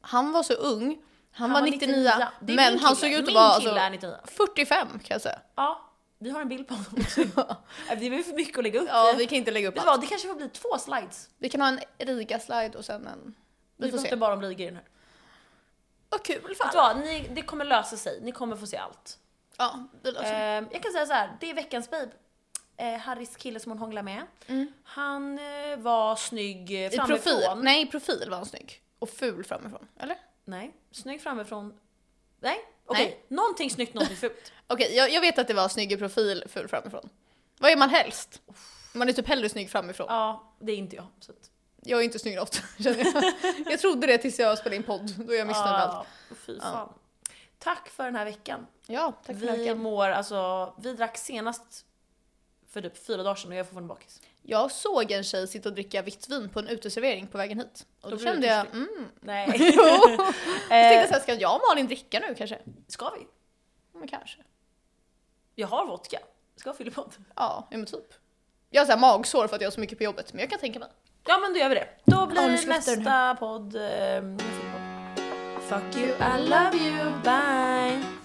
[SPEAKER 1] Han var så ung, han,
[SPEAKER 2] Han
[SPEAKER 1] var
[SPEAKER 2] var
[SPEAKER 1] 99,
[SPEAKER 2] 99. Det är
[SPEAKER 1] men
[SPEAKER 2] min
[SPEAKER 1] han såg
[SPEAKER 2] kille.
[SPEAKER 1] ut att
[SPEAKER 2] Min
[SPEAKER 1] vara
[SPEAKER 2] kille
[SPEAKER 1] alltså,
[SPEAKER 2] är 99.
[SPEAKER 1] 45 kan jag säga.
[SPEAKER 2] Ja, vi har en bild på honom
[SPEAKER 1] [LAUGHS]
[SPEAKER 2] också. det blir för mycket att lägga upp.
[SPEAKER 1] Ja, vi kan inte lägga upp
[SPEAKER 2] Typ. Vet du
[SPEAKER 1] allt.
[SPEAKER 2] vad? Det kanske får bli två slides.
[SPEAKER 1] Vi kan ha en Riga-slide och sen en... Vi
[SPEAKER 2] Vi
[SPEAKER 1] får
[SPEAKER 2] pratar
[SPEAKER 1] se.
[SPEAKER 2] bara om ligor i den här.
[SPEAKER 1] Vad kul
[SPEAKER 2] Vet du
[SPEAKER 1] fan!
[SPEAKER 2] vad? Ni, det kommer lösa sig. Ni kommer få se allt.
[SPEAKER 1] Ja, vi löser det.
[SPEAKER 2] Ehm, jag kan säga så här. det är veckans babe. Eh, Harrys kille som hon hånglar med. Han eh, var snygg eh,
[SPEAKER 1] Mm. I
[SPEAKER 2] framifrån.
[SPEAKER 1] profil, nej i profil var han snygg. Och ful framifrån, eller?
[SPEAKER 2] Nej, snygg framifrån. Nej, okej. Någonting
[SPEAKER 1] [LAUGHS]
[SPEAKER 2] snyggt, någonting fult.
[SPEAKER 1] Okej, jag, jag vet att det var snygg i profil, ful framifrån. Vad är man helst? Man är typ hellre snygg framifrån.
[SPEAKER 2] Ja, det är inte jag. Så att,
[SPEAKER 1] Jag är inte snygg något, känner
[SPEAKER 2] [LAUGHS]
[SPEAKER 1] jag. Jag trodde det tills jag spelade in podd, då är jag missnöjd med allt.
[SPEAKER 2] Ja, Ah, fy fan. Tack för den här veckan.
[SPEAKER 1] Ja, tack för
[SPEAKER 2] Vi
[SPEAKER 1] veckan.
[SPEAKER 2] mår, alltså, vi drack senast för typ fyra dagar sedan och jag är fortfarande bakis.
[SPEAKER 1] Jag såg en tjej sitta och dricka vitt vin på en uteservering på vägen hit. Och då,
[SPEAKER 2] Då blir
[SPEAKER 1] kände
[SPEAKER 2] du
[SPEAKER 1] jag,
[SPEAKER 2] törstig.
[SPEAKER 1] mm. [LAUGHS]
[SPEAKER 2] Nej.
[SPEAKER 1] Jag tänkte
[SPEAKER 2] eh,
[SPEAKER 1] såhär, ska jag och Malin dricka nu kanske?
[SPEAKER 2] ska vi?
[SPEAKER 1] Ja, Men kanske.
[SPEAKER 2] Jag har vodka. Ska jag fylla på?
[SPEAKER 1] Ja, ja men typ. Jag har såhär magsår för att jag har så mycket på jobbet, men jag kan tänka mig.
[SPEAKER 2] Ja men då gör vi det. Då blir
[SPEAKER 1] nu slutar den
[SPEAKER 2] nästa podd... Eh, Fuck you, I love you, bye!